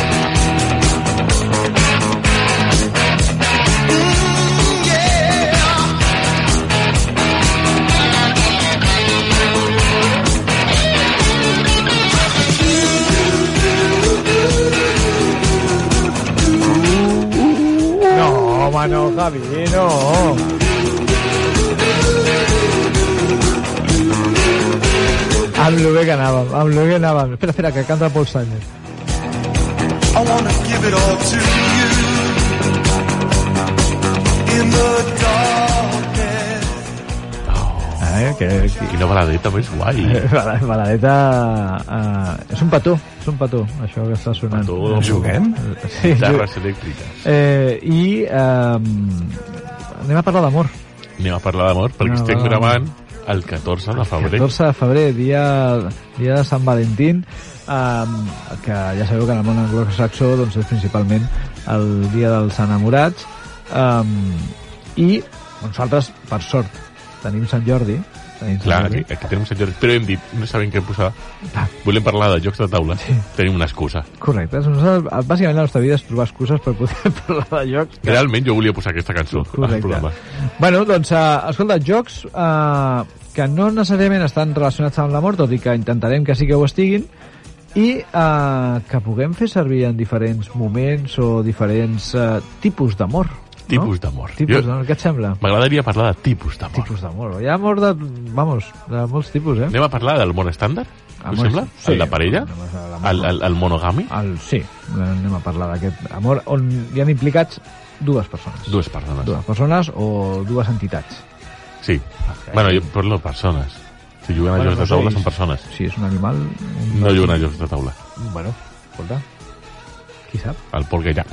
No, home, no, Javi, no. Amb lo bé que anàvem, amb lo bé que anàvem. Espera, espera, que canta Paul Sánchez.
I wanna give it all to you. In the darkness.
Eh, que,
I la baladeta més guai.
que, Bala- baladeta... Eh, és un petó, és un petó, això que està sonant.
Petó.
Juguem?
Sí, ju-
Guitarres elèctriques.
eh, I... Eh, anem a parlar d'amor.
Anem a parlar d'amor, perquè
No,
estem
no.
gravant el 14 de febrer.
14 de febrer, dia, dia de Sant Valentín, um, que ja sabeu que en el món anglosaxó doncs, és principalment el dia dels enamorats, um, i nosaltres, per sort, tenim Sant Jordi, tenim Sant
Clar, aquí,
Jordi.
aquí tenim Sant Jordi, però hem dit, no sabem què posar.
Ah.
Volem parlar de jocs de taula. Tenim una excusa.
Correcte. Nosaltres, bàsicament, la nostra vida és trobar excuses per poder parlar de jocs
Realment jo volia posar aquesta cançó al programa.
Bueno, doncs, uh, escolta, jocs uh, que no necessàriament estan relacionats amb l'amor, tot i que intentarem que sí que ho estiguin, i uh, que puguem fer servir en diferents moments o diferents uh, tipus d'amor.
Tipus
no?
d'amor.
Tipus
Jo-
d'amor, què et sembla?
M'agradaria parlar de tipus d'amor.
Tipus d'amor. Hi ha amor de, vamos, de molts tipus, eh?
Anem a parlar del món estàndard,
Amor,
us sembla?
Ah, sí.
El de parella?
Anem a la- Ah.
El, el, el monogami?
El, sí, anem a parlar d'aquest amor on hi han implicats dues persones.
Dues persones.
Dues persones o dues entitats.
Sí. Bueno, jo parlo de persones. Si juguen a
Bueno,
jocs de
no sé,
taula
i-
són persones.
Si és un animal... Un...
No juguen a jocs de taula.
Bueno, escolta, qui sap?
El Pol Gallà.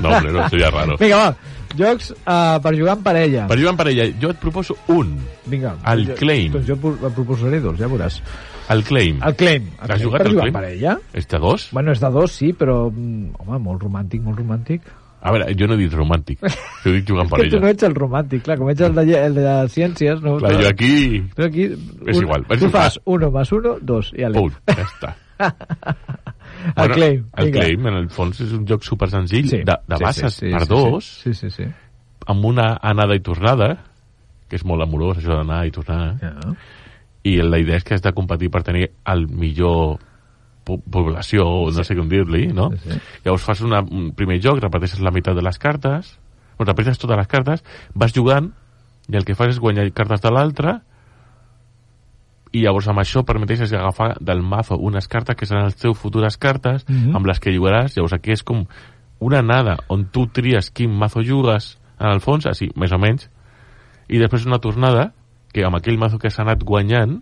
No, hombre, no, això ja és raro.
Vinga, va, jocs uh, per jugar en parella.
Per jugar en parella, jo et proposo un.
Vinga.
El
jo,
claim.
Doncs jo pro- et proposaré dos, ja veuràs.
El Claim.
El claim. El
Has
claim
jugat
per
al
jugar
claim? Este
en parella?
És de dos?
Bueno, és de dos, sí, però... mm, Home, molt romàntic, molt romàntic.
A veure, jo no he dit romàntic. Jo he dit jugar en
Que tu
parella.
no ets tota- el romàntic, clar, com ets el de, lle- el de ciències, no?
Clar, jo aquí...
Tu aquí...
És igual, és
Tu
igual.
fas uno más uno, dos, i ale.
Pum, ja està.
el claim.
El
vinga.
Claim, en el fons, és un joc super senzill, de, de bases per dos,
Sí, sí, sí.
amb una anada i tornada, que és molt amorós, això d'anar i tornar.
Ja.
I la idea és que has de competir per tenir el millor po- població, o no sé com dir-li, no?
Sí, sí.
Llavors fas una, un primer joc, repeteixes la meitat de les cartes, o repeteixes totes les cartes, vas jugant, i el que fas és guanyar cartes de l'altre, i llavors amb això permeteixes agafar del mazo unes cartes que seran les teves futures cartes,
Mhm.
amb les que jugaràs, llavors aquí és com una anada on tu tries quin mazo jugues, en el fons, així, més o menys, i després una tornada que amb aquell mazo que s'ha anat guanyant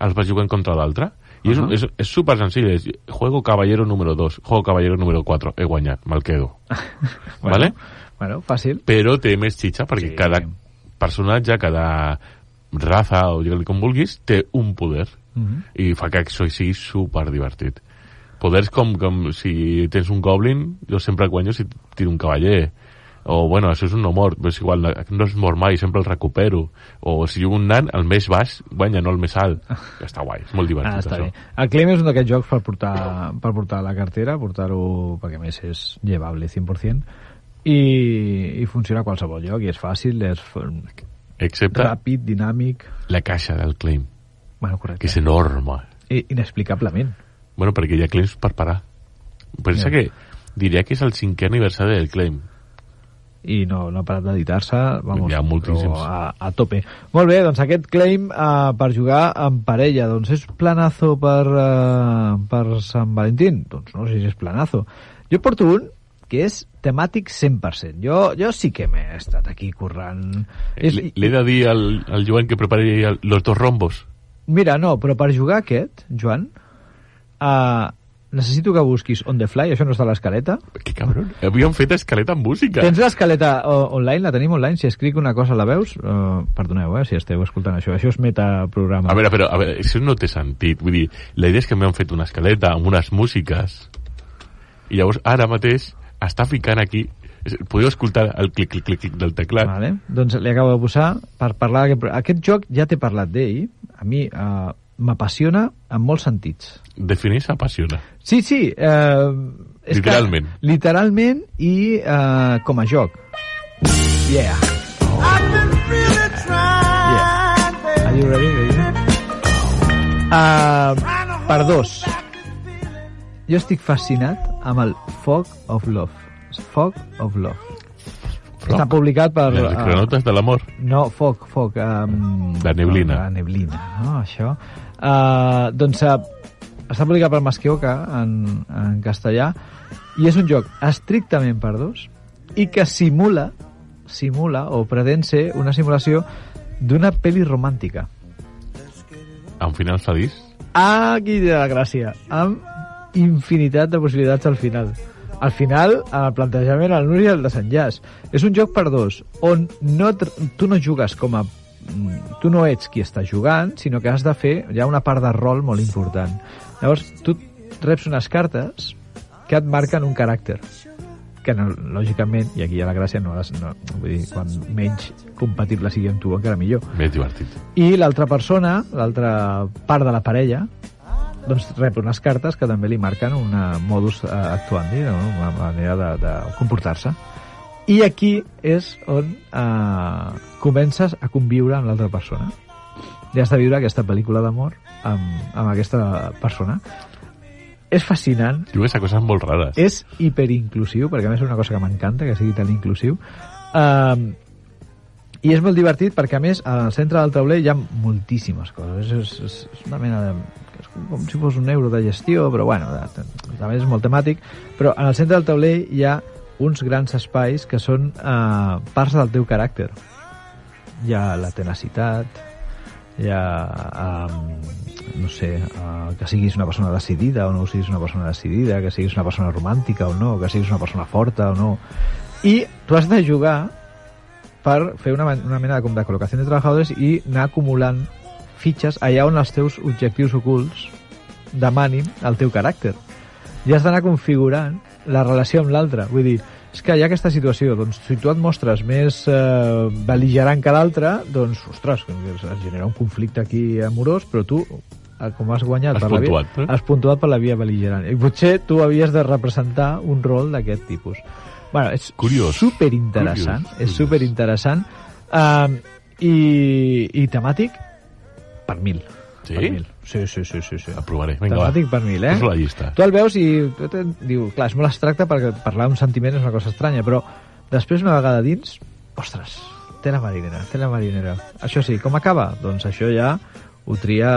els vas jugant contra l'altre i uh -huh. és, és, és super senzill és juego caballero número 2, juego caballero número 4 he guanyat, me'l quedo
Bueno,
vale?
Bueno, fàcil.
però té més xitxa perquè
Sí.
sí. cada personatge cada raza o digue-li com vulguis té un poder
Mm -hmm.
i fa que això sigui super divertit poders com, com si tens un goblin jo sempre guanyo si tiro un cavaller o bueno, això és un no mort però és igual, no es mor mai, sempre el recupero o si jugo un nan, el més baix guanya, no el més alt, està guai és molt divertit
Ah, està
això.
bé. El Claim és un d'aquests jocs per portar, per portar a la cartera, portar-ho, perquè a més és llevable 100%, i, i funciona a qualsevol lloc, i és fàcil, és f-
excepte
ràpid, dinàmic...
la caixa del claim,
Bueno,
que
correcte.
és enorme.
I, inexplicablement.
Bueno, perquè hi ha claims per parar. Pensa
Ja.
que diria que és el cinquè aniversari del claim.
i no, no ha parat d'editar-se vamos,
Hi ha moltíssims.
però a, a tope molt bé, doncs aquest claim uh, per jugar en parella, doncs és planazo per, uh, per Sant Valentín doncs no sé si és planazo jo porto un que és temàtic 100% jo, jo sí que m'he estat aquí currant és,
L- L'he de dir al, al Joan que prepari el, los dos rombos.
mira, no, però per jugar aquest Joan uh, necessito que busquis on the fly, això no està a l'escaleta
Que cabron. Havíem fet escaleta amb música.
Tens l'escaleta o- online? La tenim online? Si escric una cosa la veus? Uh, perdoneu, eh, si esteu escoltant això. Això és metaprograma.
A veure, però, a veure, això no té sentit. Vull dir, la idea és que m'han fet una escaleta amb unes músiques i llavors ara mateix està ficant aquí és- podeu escoltar el clic, clic, clic, clic del teclat.
Vale. Doncs li acabo de posar per parlar... d'aquest pro- Aquest joc ja t'he parlat d'ell. A mi uh, eh, m'apassiona en molts sentits.
Definir s'apassiona.
Sí, sí. Eh, és que-
Literalment.
literalment i eh, com a joc. Yeah. Yeah. Are you ready, baby? Eh, per dos. Jo estic fascinat amb el Fog of Love. Fog of Love. Està publicat per...
Les
eh,
cronotes de l'amor.
no, foc, foc. Um,
La neblina.
La neblina, no, això. Uh, doncs uh, està publicat per Masquioca en, en castellà i és un joc estrictament per dos i que simula, simula o pretén ser una simulació d'una pel·li romàntica.
Amb final sadís.
Ah, aquí té la gràcia. Amb infinitat de possibilitats al final. Al final, en el plantejament, el nul i el desenllaç. És un joc per dos, on no, tr- tu no jugues com a... mm, Tu no ets qui està jugant, sinó que has de fer... Hi ha una part de rol molt important. Llavors, tu reps unes cartes que et marquen un caràcter que no, lògicament, i aquí hi ha la gràcia, no, les- no, vull dir, quan menys compatible sigui amb tu, encara millor
Més divertit.
i l'altra persona, l'altra part de la parella, doncs rep unes cartes que també li marquen un modus eh, actuandi, no? una manera de, de comportar-se. I aquí és on eh, comences a conviure amb l'altra persona. I has de viure aquesta pel·lícula d'amor amb, amb aquesta persona. És fascinant,
Jugues a coses molt rares.
és hiperinclusiu, perquè a més és una cosa que m'encanta, que sigui tan inclusiu. Um, I és molt divertit perquè, a més, al centre del tauler hi ha moltíssimes coses. És, és, és una mena de... És com, com si fos un euro de gestió, però bueno, de, de, també és molt temàtic. Però en el centre del tauler hi ha uns grans espais que són eh, parts del teu caràcter. Hi ha la tenacitat, hi ha, um, no sé, uh, que siguis una persona decidida o no siguis una persona decidida, que siguis una persona romàntica o no, que siguis una persona forta o no. I tu has de jugar per fer una, men- una mena de, com de col·locació de treballadors i anar acumulant fitxes allà on els teus objectius ocults demanin el teu caràcter. I has d'anar configurant la relació amb l'altre. Vull dir, és que hi ha aquesta situació, doncs si tu et mostres més eh, beligerant que l'altre, doncs, ostres, com que es es genera un conflicte aquí amorós, però tu, eh, com has guanyat...
Has puntuat,
la
eh?
via, Has puntuat per la via beligerant. I potser tu havies de representar un rol d'aquest tipus. Bueno, és
Curiós.
superinteressant.
Curiós, curiós.
És superinteressant. Um, i, I temàtic per mil.
Sí?
Per mil. Sí, sí, sí, sí. sí.
Aprovaré. Vinga, va.
temàtic per mil, eh?
Poso la llista.
Tu el veus i tu te- diu, clar, és molt abstracte perquè parlar d'un sentiment és una cosa estranya, però després una vegada dins, ostres, té la marinera, té la marinera. Això sí, com acaba? Doncs això ja ho tria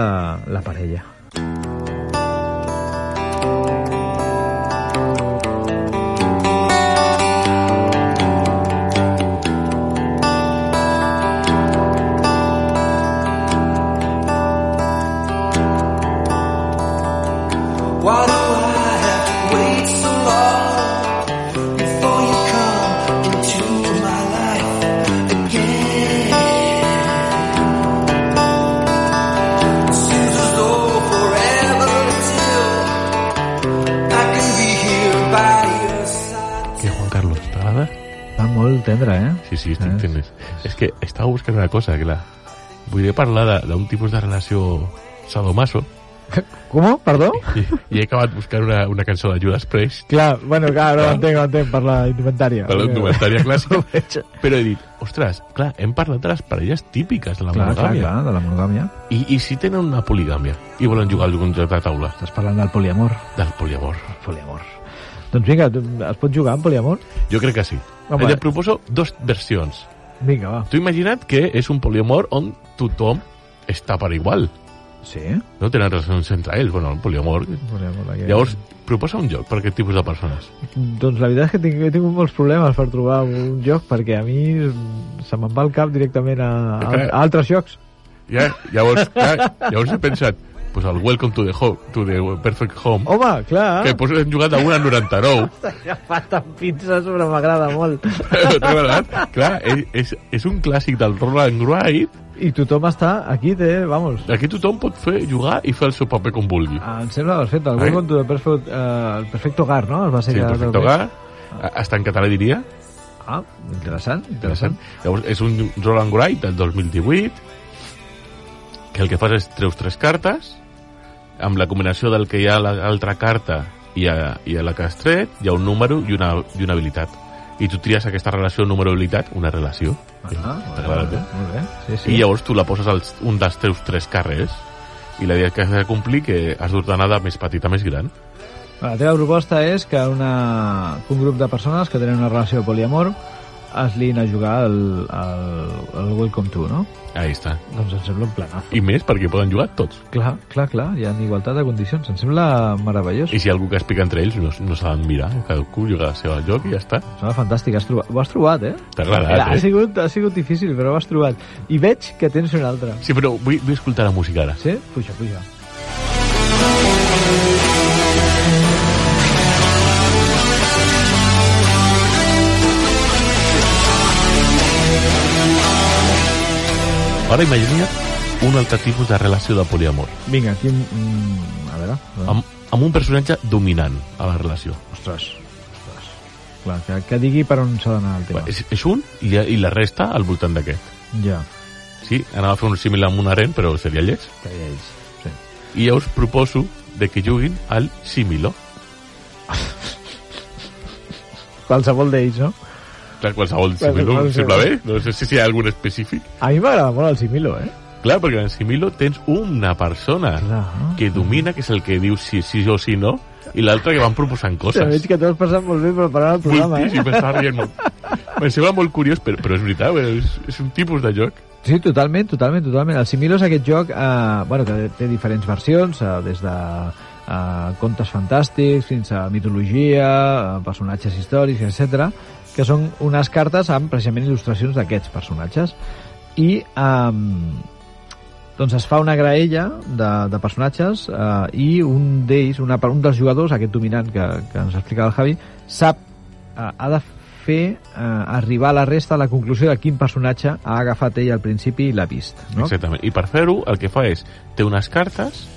la parella.
Why do I have to wait so long before you come into my life again? It seems as though forever till I can be here by your side.
Què, Juan Carlos, t'agrada?
Va molt tendre, eh?
Sí, sí, estic tendres. És que estava buscant una cosa, clar. Vull parlar de- d'un tipus de relació sadomaso
Com? Perdó?
i, i he acabat buscant una, una cançó de Judas Priest
Clar, bueno, clar, no entenc, no entenc, per la indumentària.
de l'endomentària clàssica,
veig.
però he dit, ostres, clar, hem parlat de les parelles típiques de la
Clar, clar,
monogàmia.
clar, de la monogàmia.
I, I si tenen una poligàmia i volen jugar al joc de taula
Estàs parlant del poliamor.
del poliamor?
Poliamor. Doncs vinga, tu- es pot jugar amb poliamor?
Jo crec que sí.
Home.
Home. Et proposo dos versions.
Vinga, va.
Tu imagina't que és un poliamor on tothom està per igual.
Sí?
No tenen relacions entre ells, bueno, el poliamor.
Poliamor aquí.
Llavors, proposa un joc per aquest tipus de persones.
Doncs la veritat és que tinc, he tingut molts problemes per trobar un joc, perquè a mi se me'n va el cap directament a, a, a altres jocs.
Ja, llavors, ja, llavors he pensat, pues el Welcome to the, home, to the Perfect Home,
Home, clar,
que pues, hem jugat a una 99.
ja fa tan pinces, però m'agrada molt.
T'ha agradat? Clar, és, és, és un clàssic del Roland Wright.
I tothom està aquí, té, vamos.
Aquí tothom pot fer jugar i fer el seu paper com vulgui.
Ah, Em sembla perfecte, el
Ai.
Welcome to the Perfect, eh, el Perfecte Hogar, no? Es va ser
Sí,
que-
perfecte hogar. Està en català, diria.
Ah, interessant,
Interessant.
interessant.
Llavors, és un Roland Wright del 2018 que el que fas és treus tres cartes amb la combinació del que hi ha a l'altra carta i a, i a la que has tret, hi ha un número i una, i una habilitat. I tu tries aquesta relació número-habilitat, una relació,
Ah,
T'ha
molt
agradat,
bé,
eh?
molt bé. Sí, sí.
i llavors tu la poses als un dels teus tres carrers i la idea que has de complir que has d'ordenar de més petita a més gran.
La teva proposta és que, una, que un grup de persones que tenen una relació de poliamor es liïn a jugar al, al, al Welcome to, no?
Ahí està.
Doncs em sembla un planazo.
I més perquè poden jugar tots.
Clar, clar, clar, hi ha igualtat de condicions. Em sembla meravellós.
I si hi ha algú que es pica entre ells, no, no s'ha de mirar. Cadascú juga al seu joc i ja està.
Em sembla fantàstic. Has trobat, ho has trobat, eh?
T'ha agradat,
Ha
eh?
sigut, ha sigut difícil, però ho has trobat. I veig que tens un altre.
Sí, però vull, vull escoltar la música ara.
Sí? Puja, puja.
Ara imagina't un altre tipus de relació de poliamor.
Vinga, aquí... Mm, a veure...
Amb, amb un personatge dominant a la relació.
Ostres, ostres. Clar, que, que digui per on s'ha d'anar el tema.
És, és un i, i la resta al voltant d'aquest.
Ja,
Sí, anava a fer un símil amb un aren, però seria lleig.
que ja és. Sí.
I ja us proposo de que juguin al símilo.
Qualsevol d'ells, no?
Clar, qualsevol símilo
qualsevol.
em sembla bé. No sé si hi ha algun específic.
A mi m'agrada molt el Similo, eh?
Clar, perquè en el símilo tens una persona
Clar.
que domina, que és el que diu si sí o sí no, i l'altre que van proposant
Ja
coses.
veig que t'ho has passat molt bé preparant el programa,
Vull dir,
eh?
sí, m'estava rient molt. Em sembla molt curiós, però, però és veritat, bueno, és, és un tipus de joc.
Sí, totalment, totalment, totalment. El Similo és aquest joc eh, bueno, que té diferents versions, eh, des de eh, contes fantàstics fins a mitologia, eh, personatges històrics, etc que són unes cartes amb precisament il·lustracions d'aquests personatges. I eh, doncs es fa una graella de, de personatges eh, i un d'ells, una per- un dels jugadors, aquest dominant que, que ens explicava el Javi, sap, eh, ha de fer eh, arribar a la resta a la conclusió de quin personatge ha agafat ell al principi i l'ha vist.
No?
No?
Exactament. I per fer-ho, el que fa és, té unes cartes,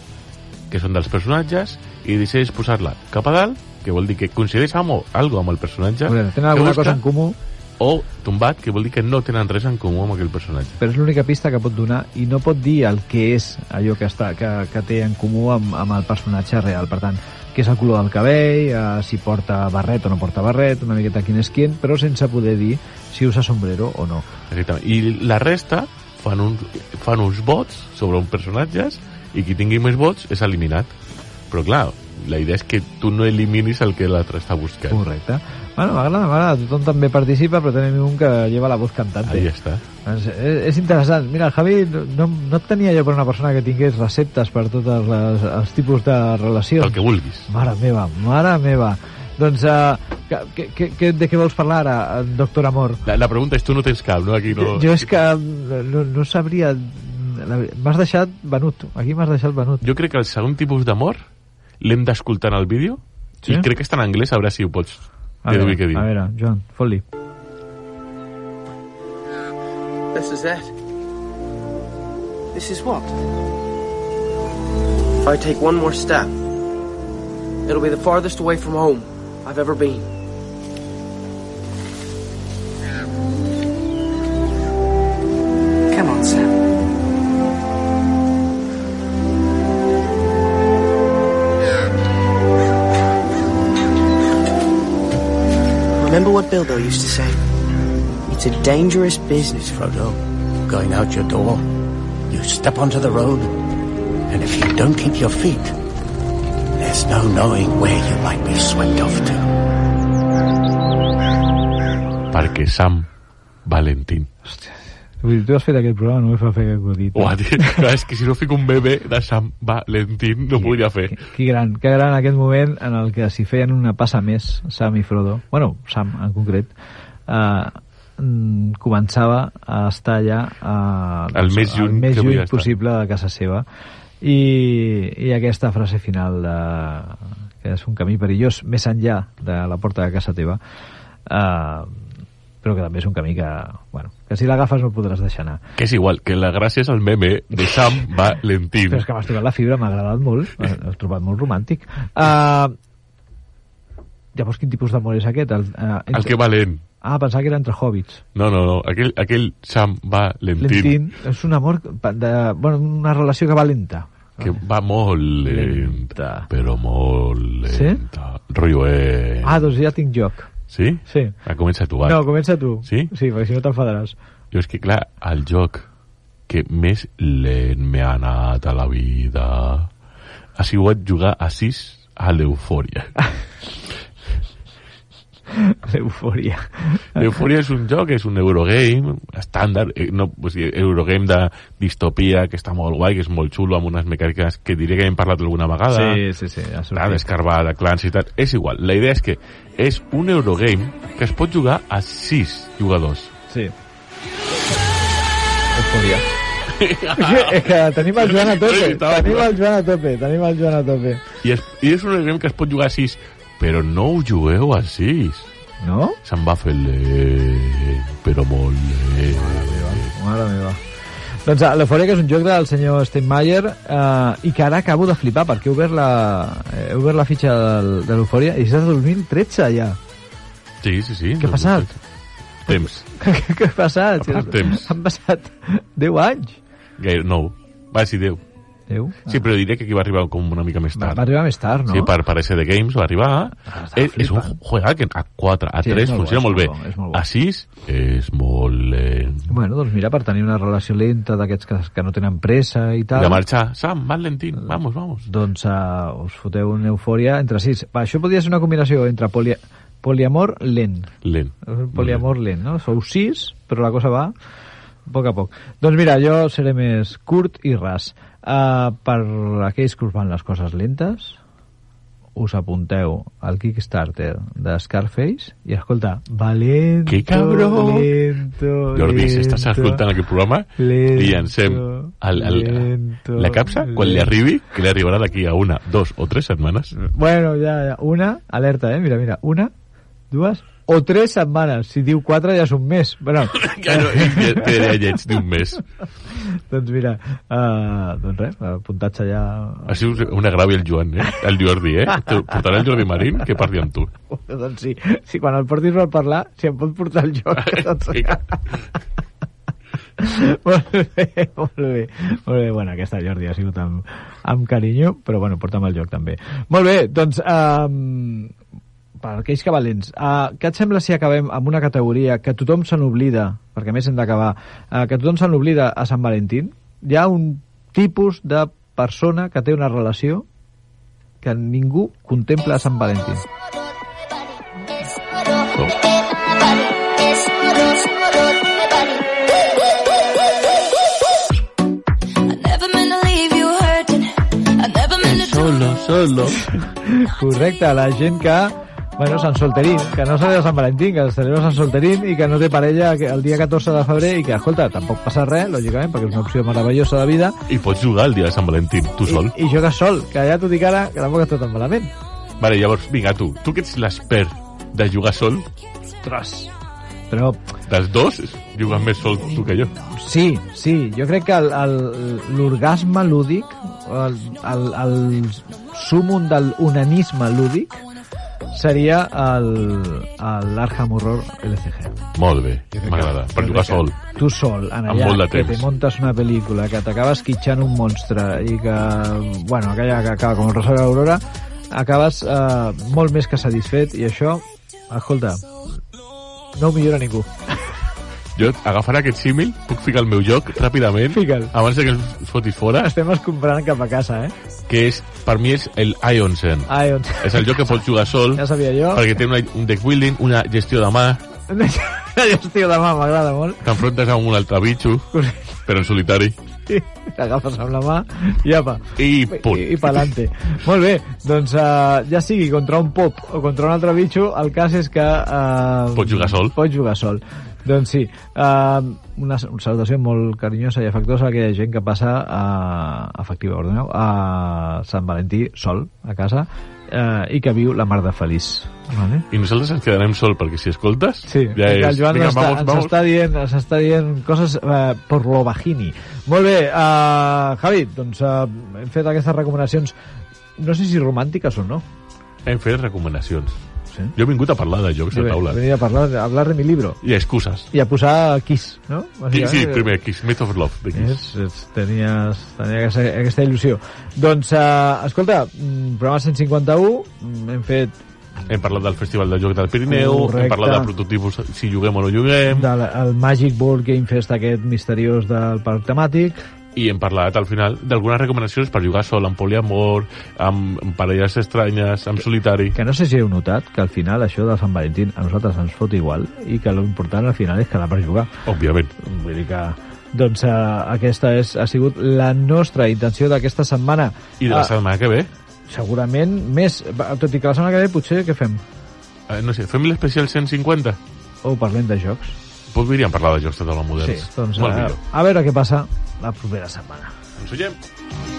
que són dels personatges, i decideix posar-la cap a dalt, que vol dir que coincideix amb o- algo amb el personatge,
Veure, tenen
que
alguna
busca,
cosa en comú,
o tombat, que vol dir que no tenen res en comú amb aquell personatge.
però és l'única pista que pot donar i no pot dir el que és allò que, està, que, que té en comú amb, amb el personatge real. Per tant, què és el color del cabell, eh, si porta barret o no porta barret, una miqueta quin és quin, però sense poder dir si usa sombrero o no.
Exactament. I la resta fan, un, fan uns vots sobre uns personatges i qui tingui més vots és eliminat. Però clar, la idea és que tu no eliminis el que l'altre està buscant.
Correcte. Bueno, m'agrada, m'agrada. Tothom també participa, però tenim un que lleva la voz cantante.
Ahí està.
És, és, és interessant. Mira, el Javi, no, no et tenia jo per una persona que tingués receptes per tots els, els tipus de relacions.
El que vulguis.
Mare meva, mare meva. Doncs, uh, que, que, que, de què vols parlar ara, eh, doctor Amor?
La, la pregunta és, tu no tens cap, no? Aquí no...
Jo, jo és que eh, no, no sabria... mm, la ve- M'has deixat venut. Aquí m'has deixat venut.
jo crec que el segon tipus d'amor l'hem d'escoltar en el vídeo
Sí?
sí? i crec que està en anglès, a veure si ho pots
A
deduir
veure,
què diu.
a veure Joan, fot-li.
This is it. This is what? If I take one more step, it'll be the farthest away from home I've ever been. Come on, Sam. Remember what Bilbo used to say? It's a dangerous business, Frodo.
Going out your door, you step onto the road, and if you don't keep your feet, there's no knowing where you might be swept off to.
Perquè Sam Valentín.
Vull dir, tu has fet aquest programa, no m'he fet fer aquest dit.
Uah, tio, clar, és que si no fico un bebè de Sam Valentín no ho podria fer.
Que gran, que gran aquest moment en el que s'hi feien una passa més, Sam i Frodo, bueno, Sam en concret, eh, mm, començava a estar allà eh,
El més lluny
el més
que
lluny
podia estar.
possible de casa seva i, i aquesta frase final de, que és un camí perillós més enllà de la porta de casa teva eh, però que també és un camí que, bueno, que si l'agafes no el podràs deixar anar
Que és igual, que la gràcia és el meme de Sam Valentín.
Però és que m'has tocat la fibra, m'ha agradat molt, l'he trobat molt romàntic. Uh, llavors, quin tipus d'amor és aquest? El, uh,
El que valent.
Ah, pensava que era entre hobbits.
No, no, no, aquell, aquell Sam Valentín.
Lentín. És un amor, pa- de, bueno, una relació que va lenta.
que va molt lenta, però molt
Sí?
lenta. Sí? Rollo, eh...
Ah, doncs ja tinc joc.
Sí?
Sí.
Ah, comença tu, va.
No, comença tu.
Sí?
Sí, perquè si no t'enfadaràs.
Jo és que, clar, el joc que més lent m'ha anat a la vida ha sigut jugar a 6 a l'Eufòria.
L'eufòria.
L'Eufòria és un joc, és un Eurogame estàndard, eh, no, o sigui, Eurogame de distopia, que està molt guai, que és molt xulo, amb unes mecàniques que diré que hem parlat alguna vegada.
Sí, sí, sí. Ha
Clar,
sortit.
d'escarbar, de clans i tal. És igual. La idea és que és un Eurogame que es pot jugar a 6 jugadors.
Sí. Eufòria. és que tenim el Joan a tope.
Inevitable.
Tenim el Joan a tope. Tenim el Joan a tope.
I és, i és un Eurogame que es pot jugar a 6, però no ho jugueu a 6.
No?
Se'n va fer lent, però molt lent.
Mare meva. Doncs ah, l'Eufòria, que és un joc del senyor Steinmeier, eh, i que ara acabo de flipar, perquè he obert la, eh, he obert la fitxa del, de l'Eufòria i és del 2013, ja.
Sí, sí, sí.
Què ha passat?
Temps.
Què ha passat?
Ha passat temps.
Han passat 10 anys.
Gaire, no. Va, sí, 10.
10?
Sí, però diré que aquí va arribar com una mica més
Ah, Va,
tard.
va arribar més tard, no?
Sí, per, per SD Games va arribar.
Ah,
és, és un
flipant.
juega que a 4, a
Sí, és
3
molt bo,
funciona
és
molt bé.
molt bo, és molt bo.
A 6 és molt lent.
Bueno, doncs mira, per tenir una relació lenta d'aquests que, que no tenen pressa i
I
tal...
a marxar. Sam, vas lentín. Vamos, vamos.
Doncs uh, us foteu una eufòria entre sis. Va, això podria ser una combinació entre poli poliamor lent.
Lent.
Un Poliamor lent, no? Sou sis, però la cosa va a poc a poc. Doncs mira, jo seré més curt i ras. Uh, per aquells que us van les coses lentes, us apunteu al Kickstarter de Scarface i escolta, valento,
Que cabró!
lento,
Jordi, si
lento.
estàs escoltant aquest programa,
Lento,
li llancem al, al,
lento,
la capsa quan li
lento.
arribi, que li arribarà d'aquí a una, dos o tres setmanes.
Bueno, ja, ja, una, alerta, eh? Mira, mira, una, dues o tres setmanes. Si diu quatre ja és un mes. Bueno,
Claro, i te te diré lleig d'un mes.
doncs mira, uh, doncs res, apuntatge ja...
Ha sigut una gràvia el Joan, eh? El Jordi, eh? Te Portarà el Jordi Marín que parli amb tu.
doncs sí, sí, quan el portis per parlar, si em pot portar el joc. Doncs... molt bé, molt bé, molt bé. Bueno, aquesta Jordi ha sigut amb, amb carinyo, però bueno, porta'm el joc també. Molt bé, doncs... Um, per aquells que valents, uh, què et sembla si acabem amb una categoria que tothom se n'oblida, perquè a més hem d'acabar, uh, que tothom se n'oblida a Sant Valentín? Hi ha un tipus de persona que té una relació que ningú contempla a Sant Valentín.
Solo, solo.
Correcte, la gent que... Bueno, Sant Solterín, que no celebra Sant Valentín, que celebra Sant Solterín i que no té parella el dia 14 de febrer i que, escolta, tampoc passa res, lògicament, perquè és una opció meravellosa de vida.
I pots jugar el dia de Sant Valentín, tu sol.
I, i jo que sol, que ja t'ho dic ara, que tampoc està tan malament.
Vale, llavors, vinga, tu. Tu que ets l'expert de jugar sol,
Ostres. Però
dels dos, jugues més sol tu que jo.
sí, sí, jo crec que el- el- l'orgasme lúdic, el, el, el sumum del onanisme lúdic, seria el- el l'Arkham Horror LCG.
Molt bé, m'agrada. Per jugar sol.
tu sol, en
Amb
allà,
molt de
que te
temps.
montes una pel·lícula, que t'acabes quitxant un monstre i que, bueno, aquella que acaba com el Rosario Aurora, acabes eh, molt més que satisfet i això, escolta, no ho millora ningú.
Jo agafaré aquest símil, puc ficar al meu joc ràpidament,
Fica'l.
abans de que es foti fora,
Estem escombrant cap a casa, eh?
que és, per mi és el Ionsen.
Ai, doncs,
És el joc que pots jugar sol,
ja sabia jo.
perquè té una, un deck building, una gestió de mà,
Hòstia, demà m'agrada molt.
t'enfrontes amb un altre bitxo, però en solitari,
T'agafes amb la mà i apa.
i punt.
I, i pa'lante. Molt bé, doncs uh, ja sigui contra un pop o contra un altre bitxo, el cas és que... Uh,
Pots jugar sol.
Pots jugar sol. Doncs sí, uh, una, una salutació molt carinyosa i afectuosa a aquella gent que passa a, efectiva, perdoneu, a Sant Valentí sol, a casa, uh, i que viu la mar de feliç. Vale?
I nosaltres ens quedarem sol, perquè si escoltes...
Sí, ja el Joan
Vinga,
està,
vamos,
ens,
vamos.
Està dient, ens està dient coses eh, por lo bajini. Molt bé, eh, Javi, doncs eh, hem fet aquestes recomanacions no sé si romàntiques o no.
Hem fet recomanacions.
eh?
Jo he vingut a parlar de jocs de
Bé,
taula.
Venia a parlar, a hablar de mi libro.
I excuses.
I a posar Kiss, no?
Sí, sí,
Bàsicament,
primer, Kiss, Myth of Love, de Kiss.
És, és, tenies, tenia aquesta, aquesta il·lusió. Doncs, uh, escolta, mm, programa 151, mm, hem fet
Hem parlat del Festival de Jocs del Pirineu,
Correcte.
hem parlat de prototipus, si juguem o no juguem,
del el Magic Board Game Fest aquest misteriós del parc temàtic,
i hem parlat al final d'algunes recomanacions per jugar sol, amb poliamor, amb, amb parelles estranyes, amb solitari.
que no sé si heu notat que al final això de Sant Valentín a nosaltres ens fot igual i que l'important al final és quedar per jugar.
Òbviament.
Vull dir que doncs eh, aquesta és, ha sigut la nostra intenció d'aquesta setmana.
I de la
Ah,
setmana que ve,
Segurament més, Va, tot i que la setmana que ve potser què fem?
eh, no sé, fem l'especial Doncs 150?
O parlem de jocs.
Podríem parlar de jocs de taula
Sí,
moderns.
doncs
Molt
a,
millor.
a veure què passa la propera setmana.
Ens veiem.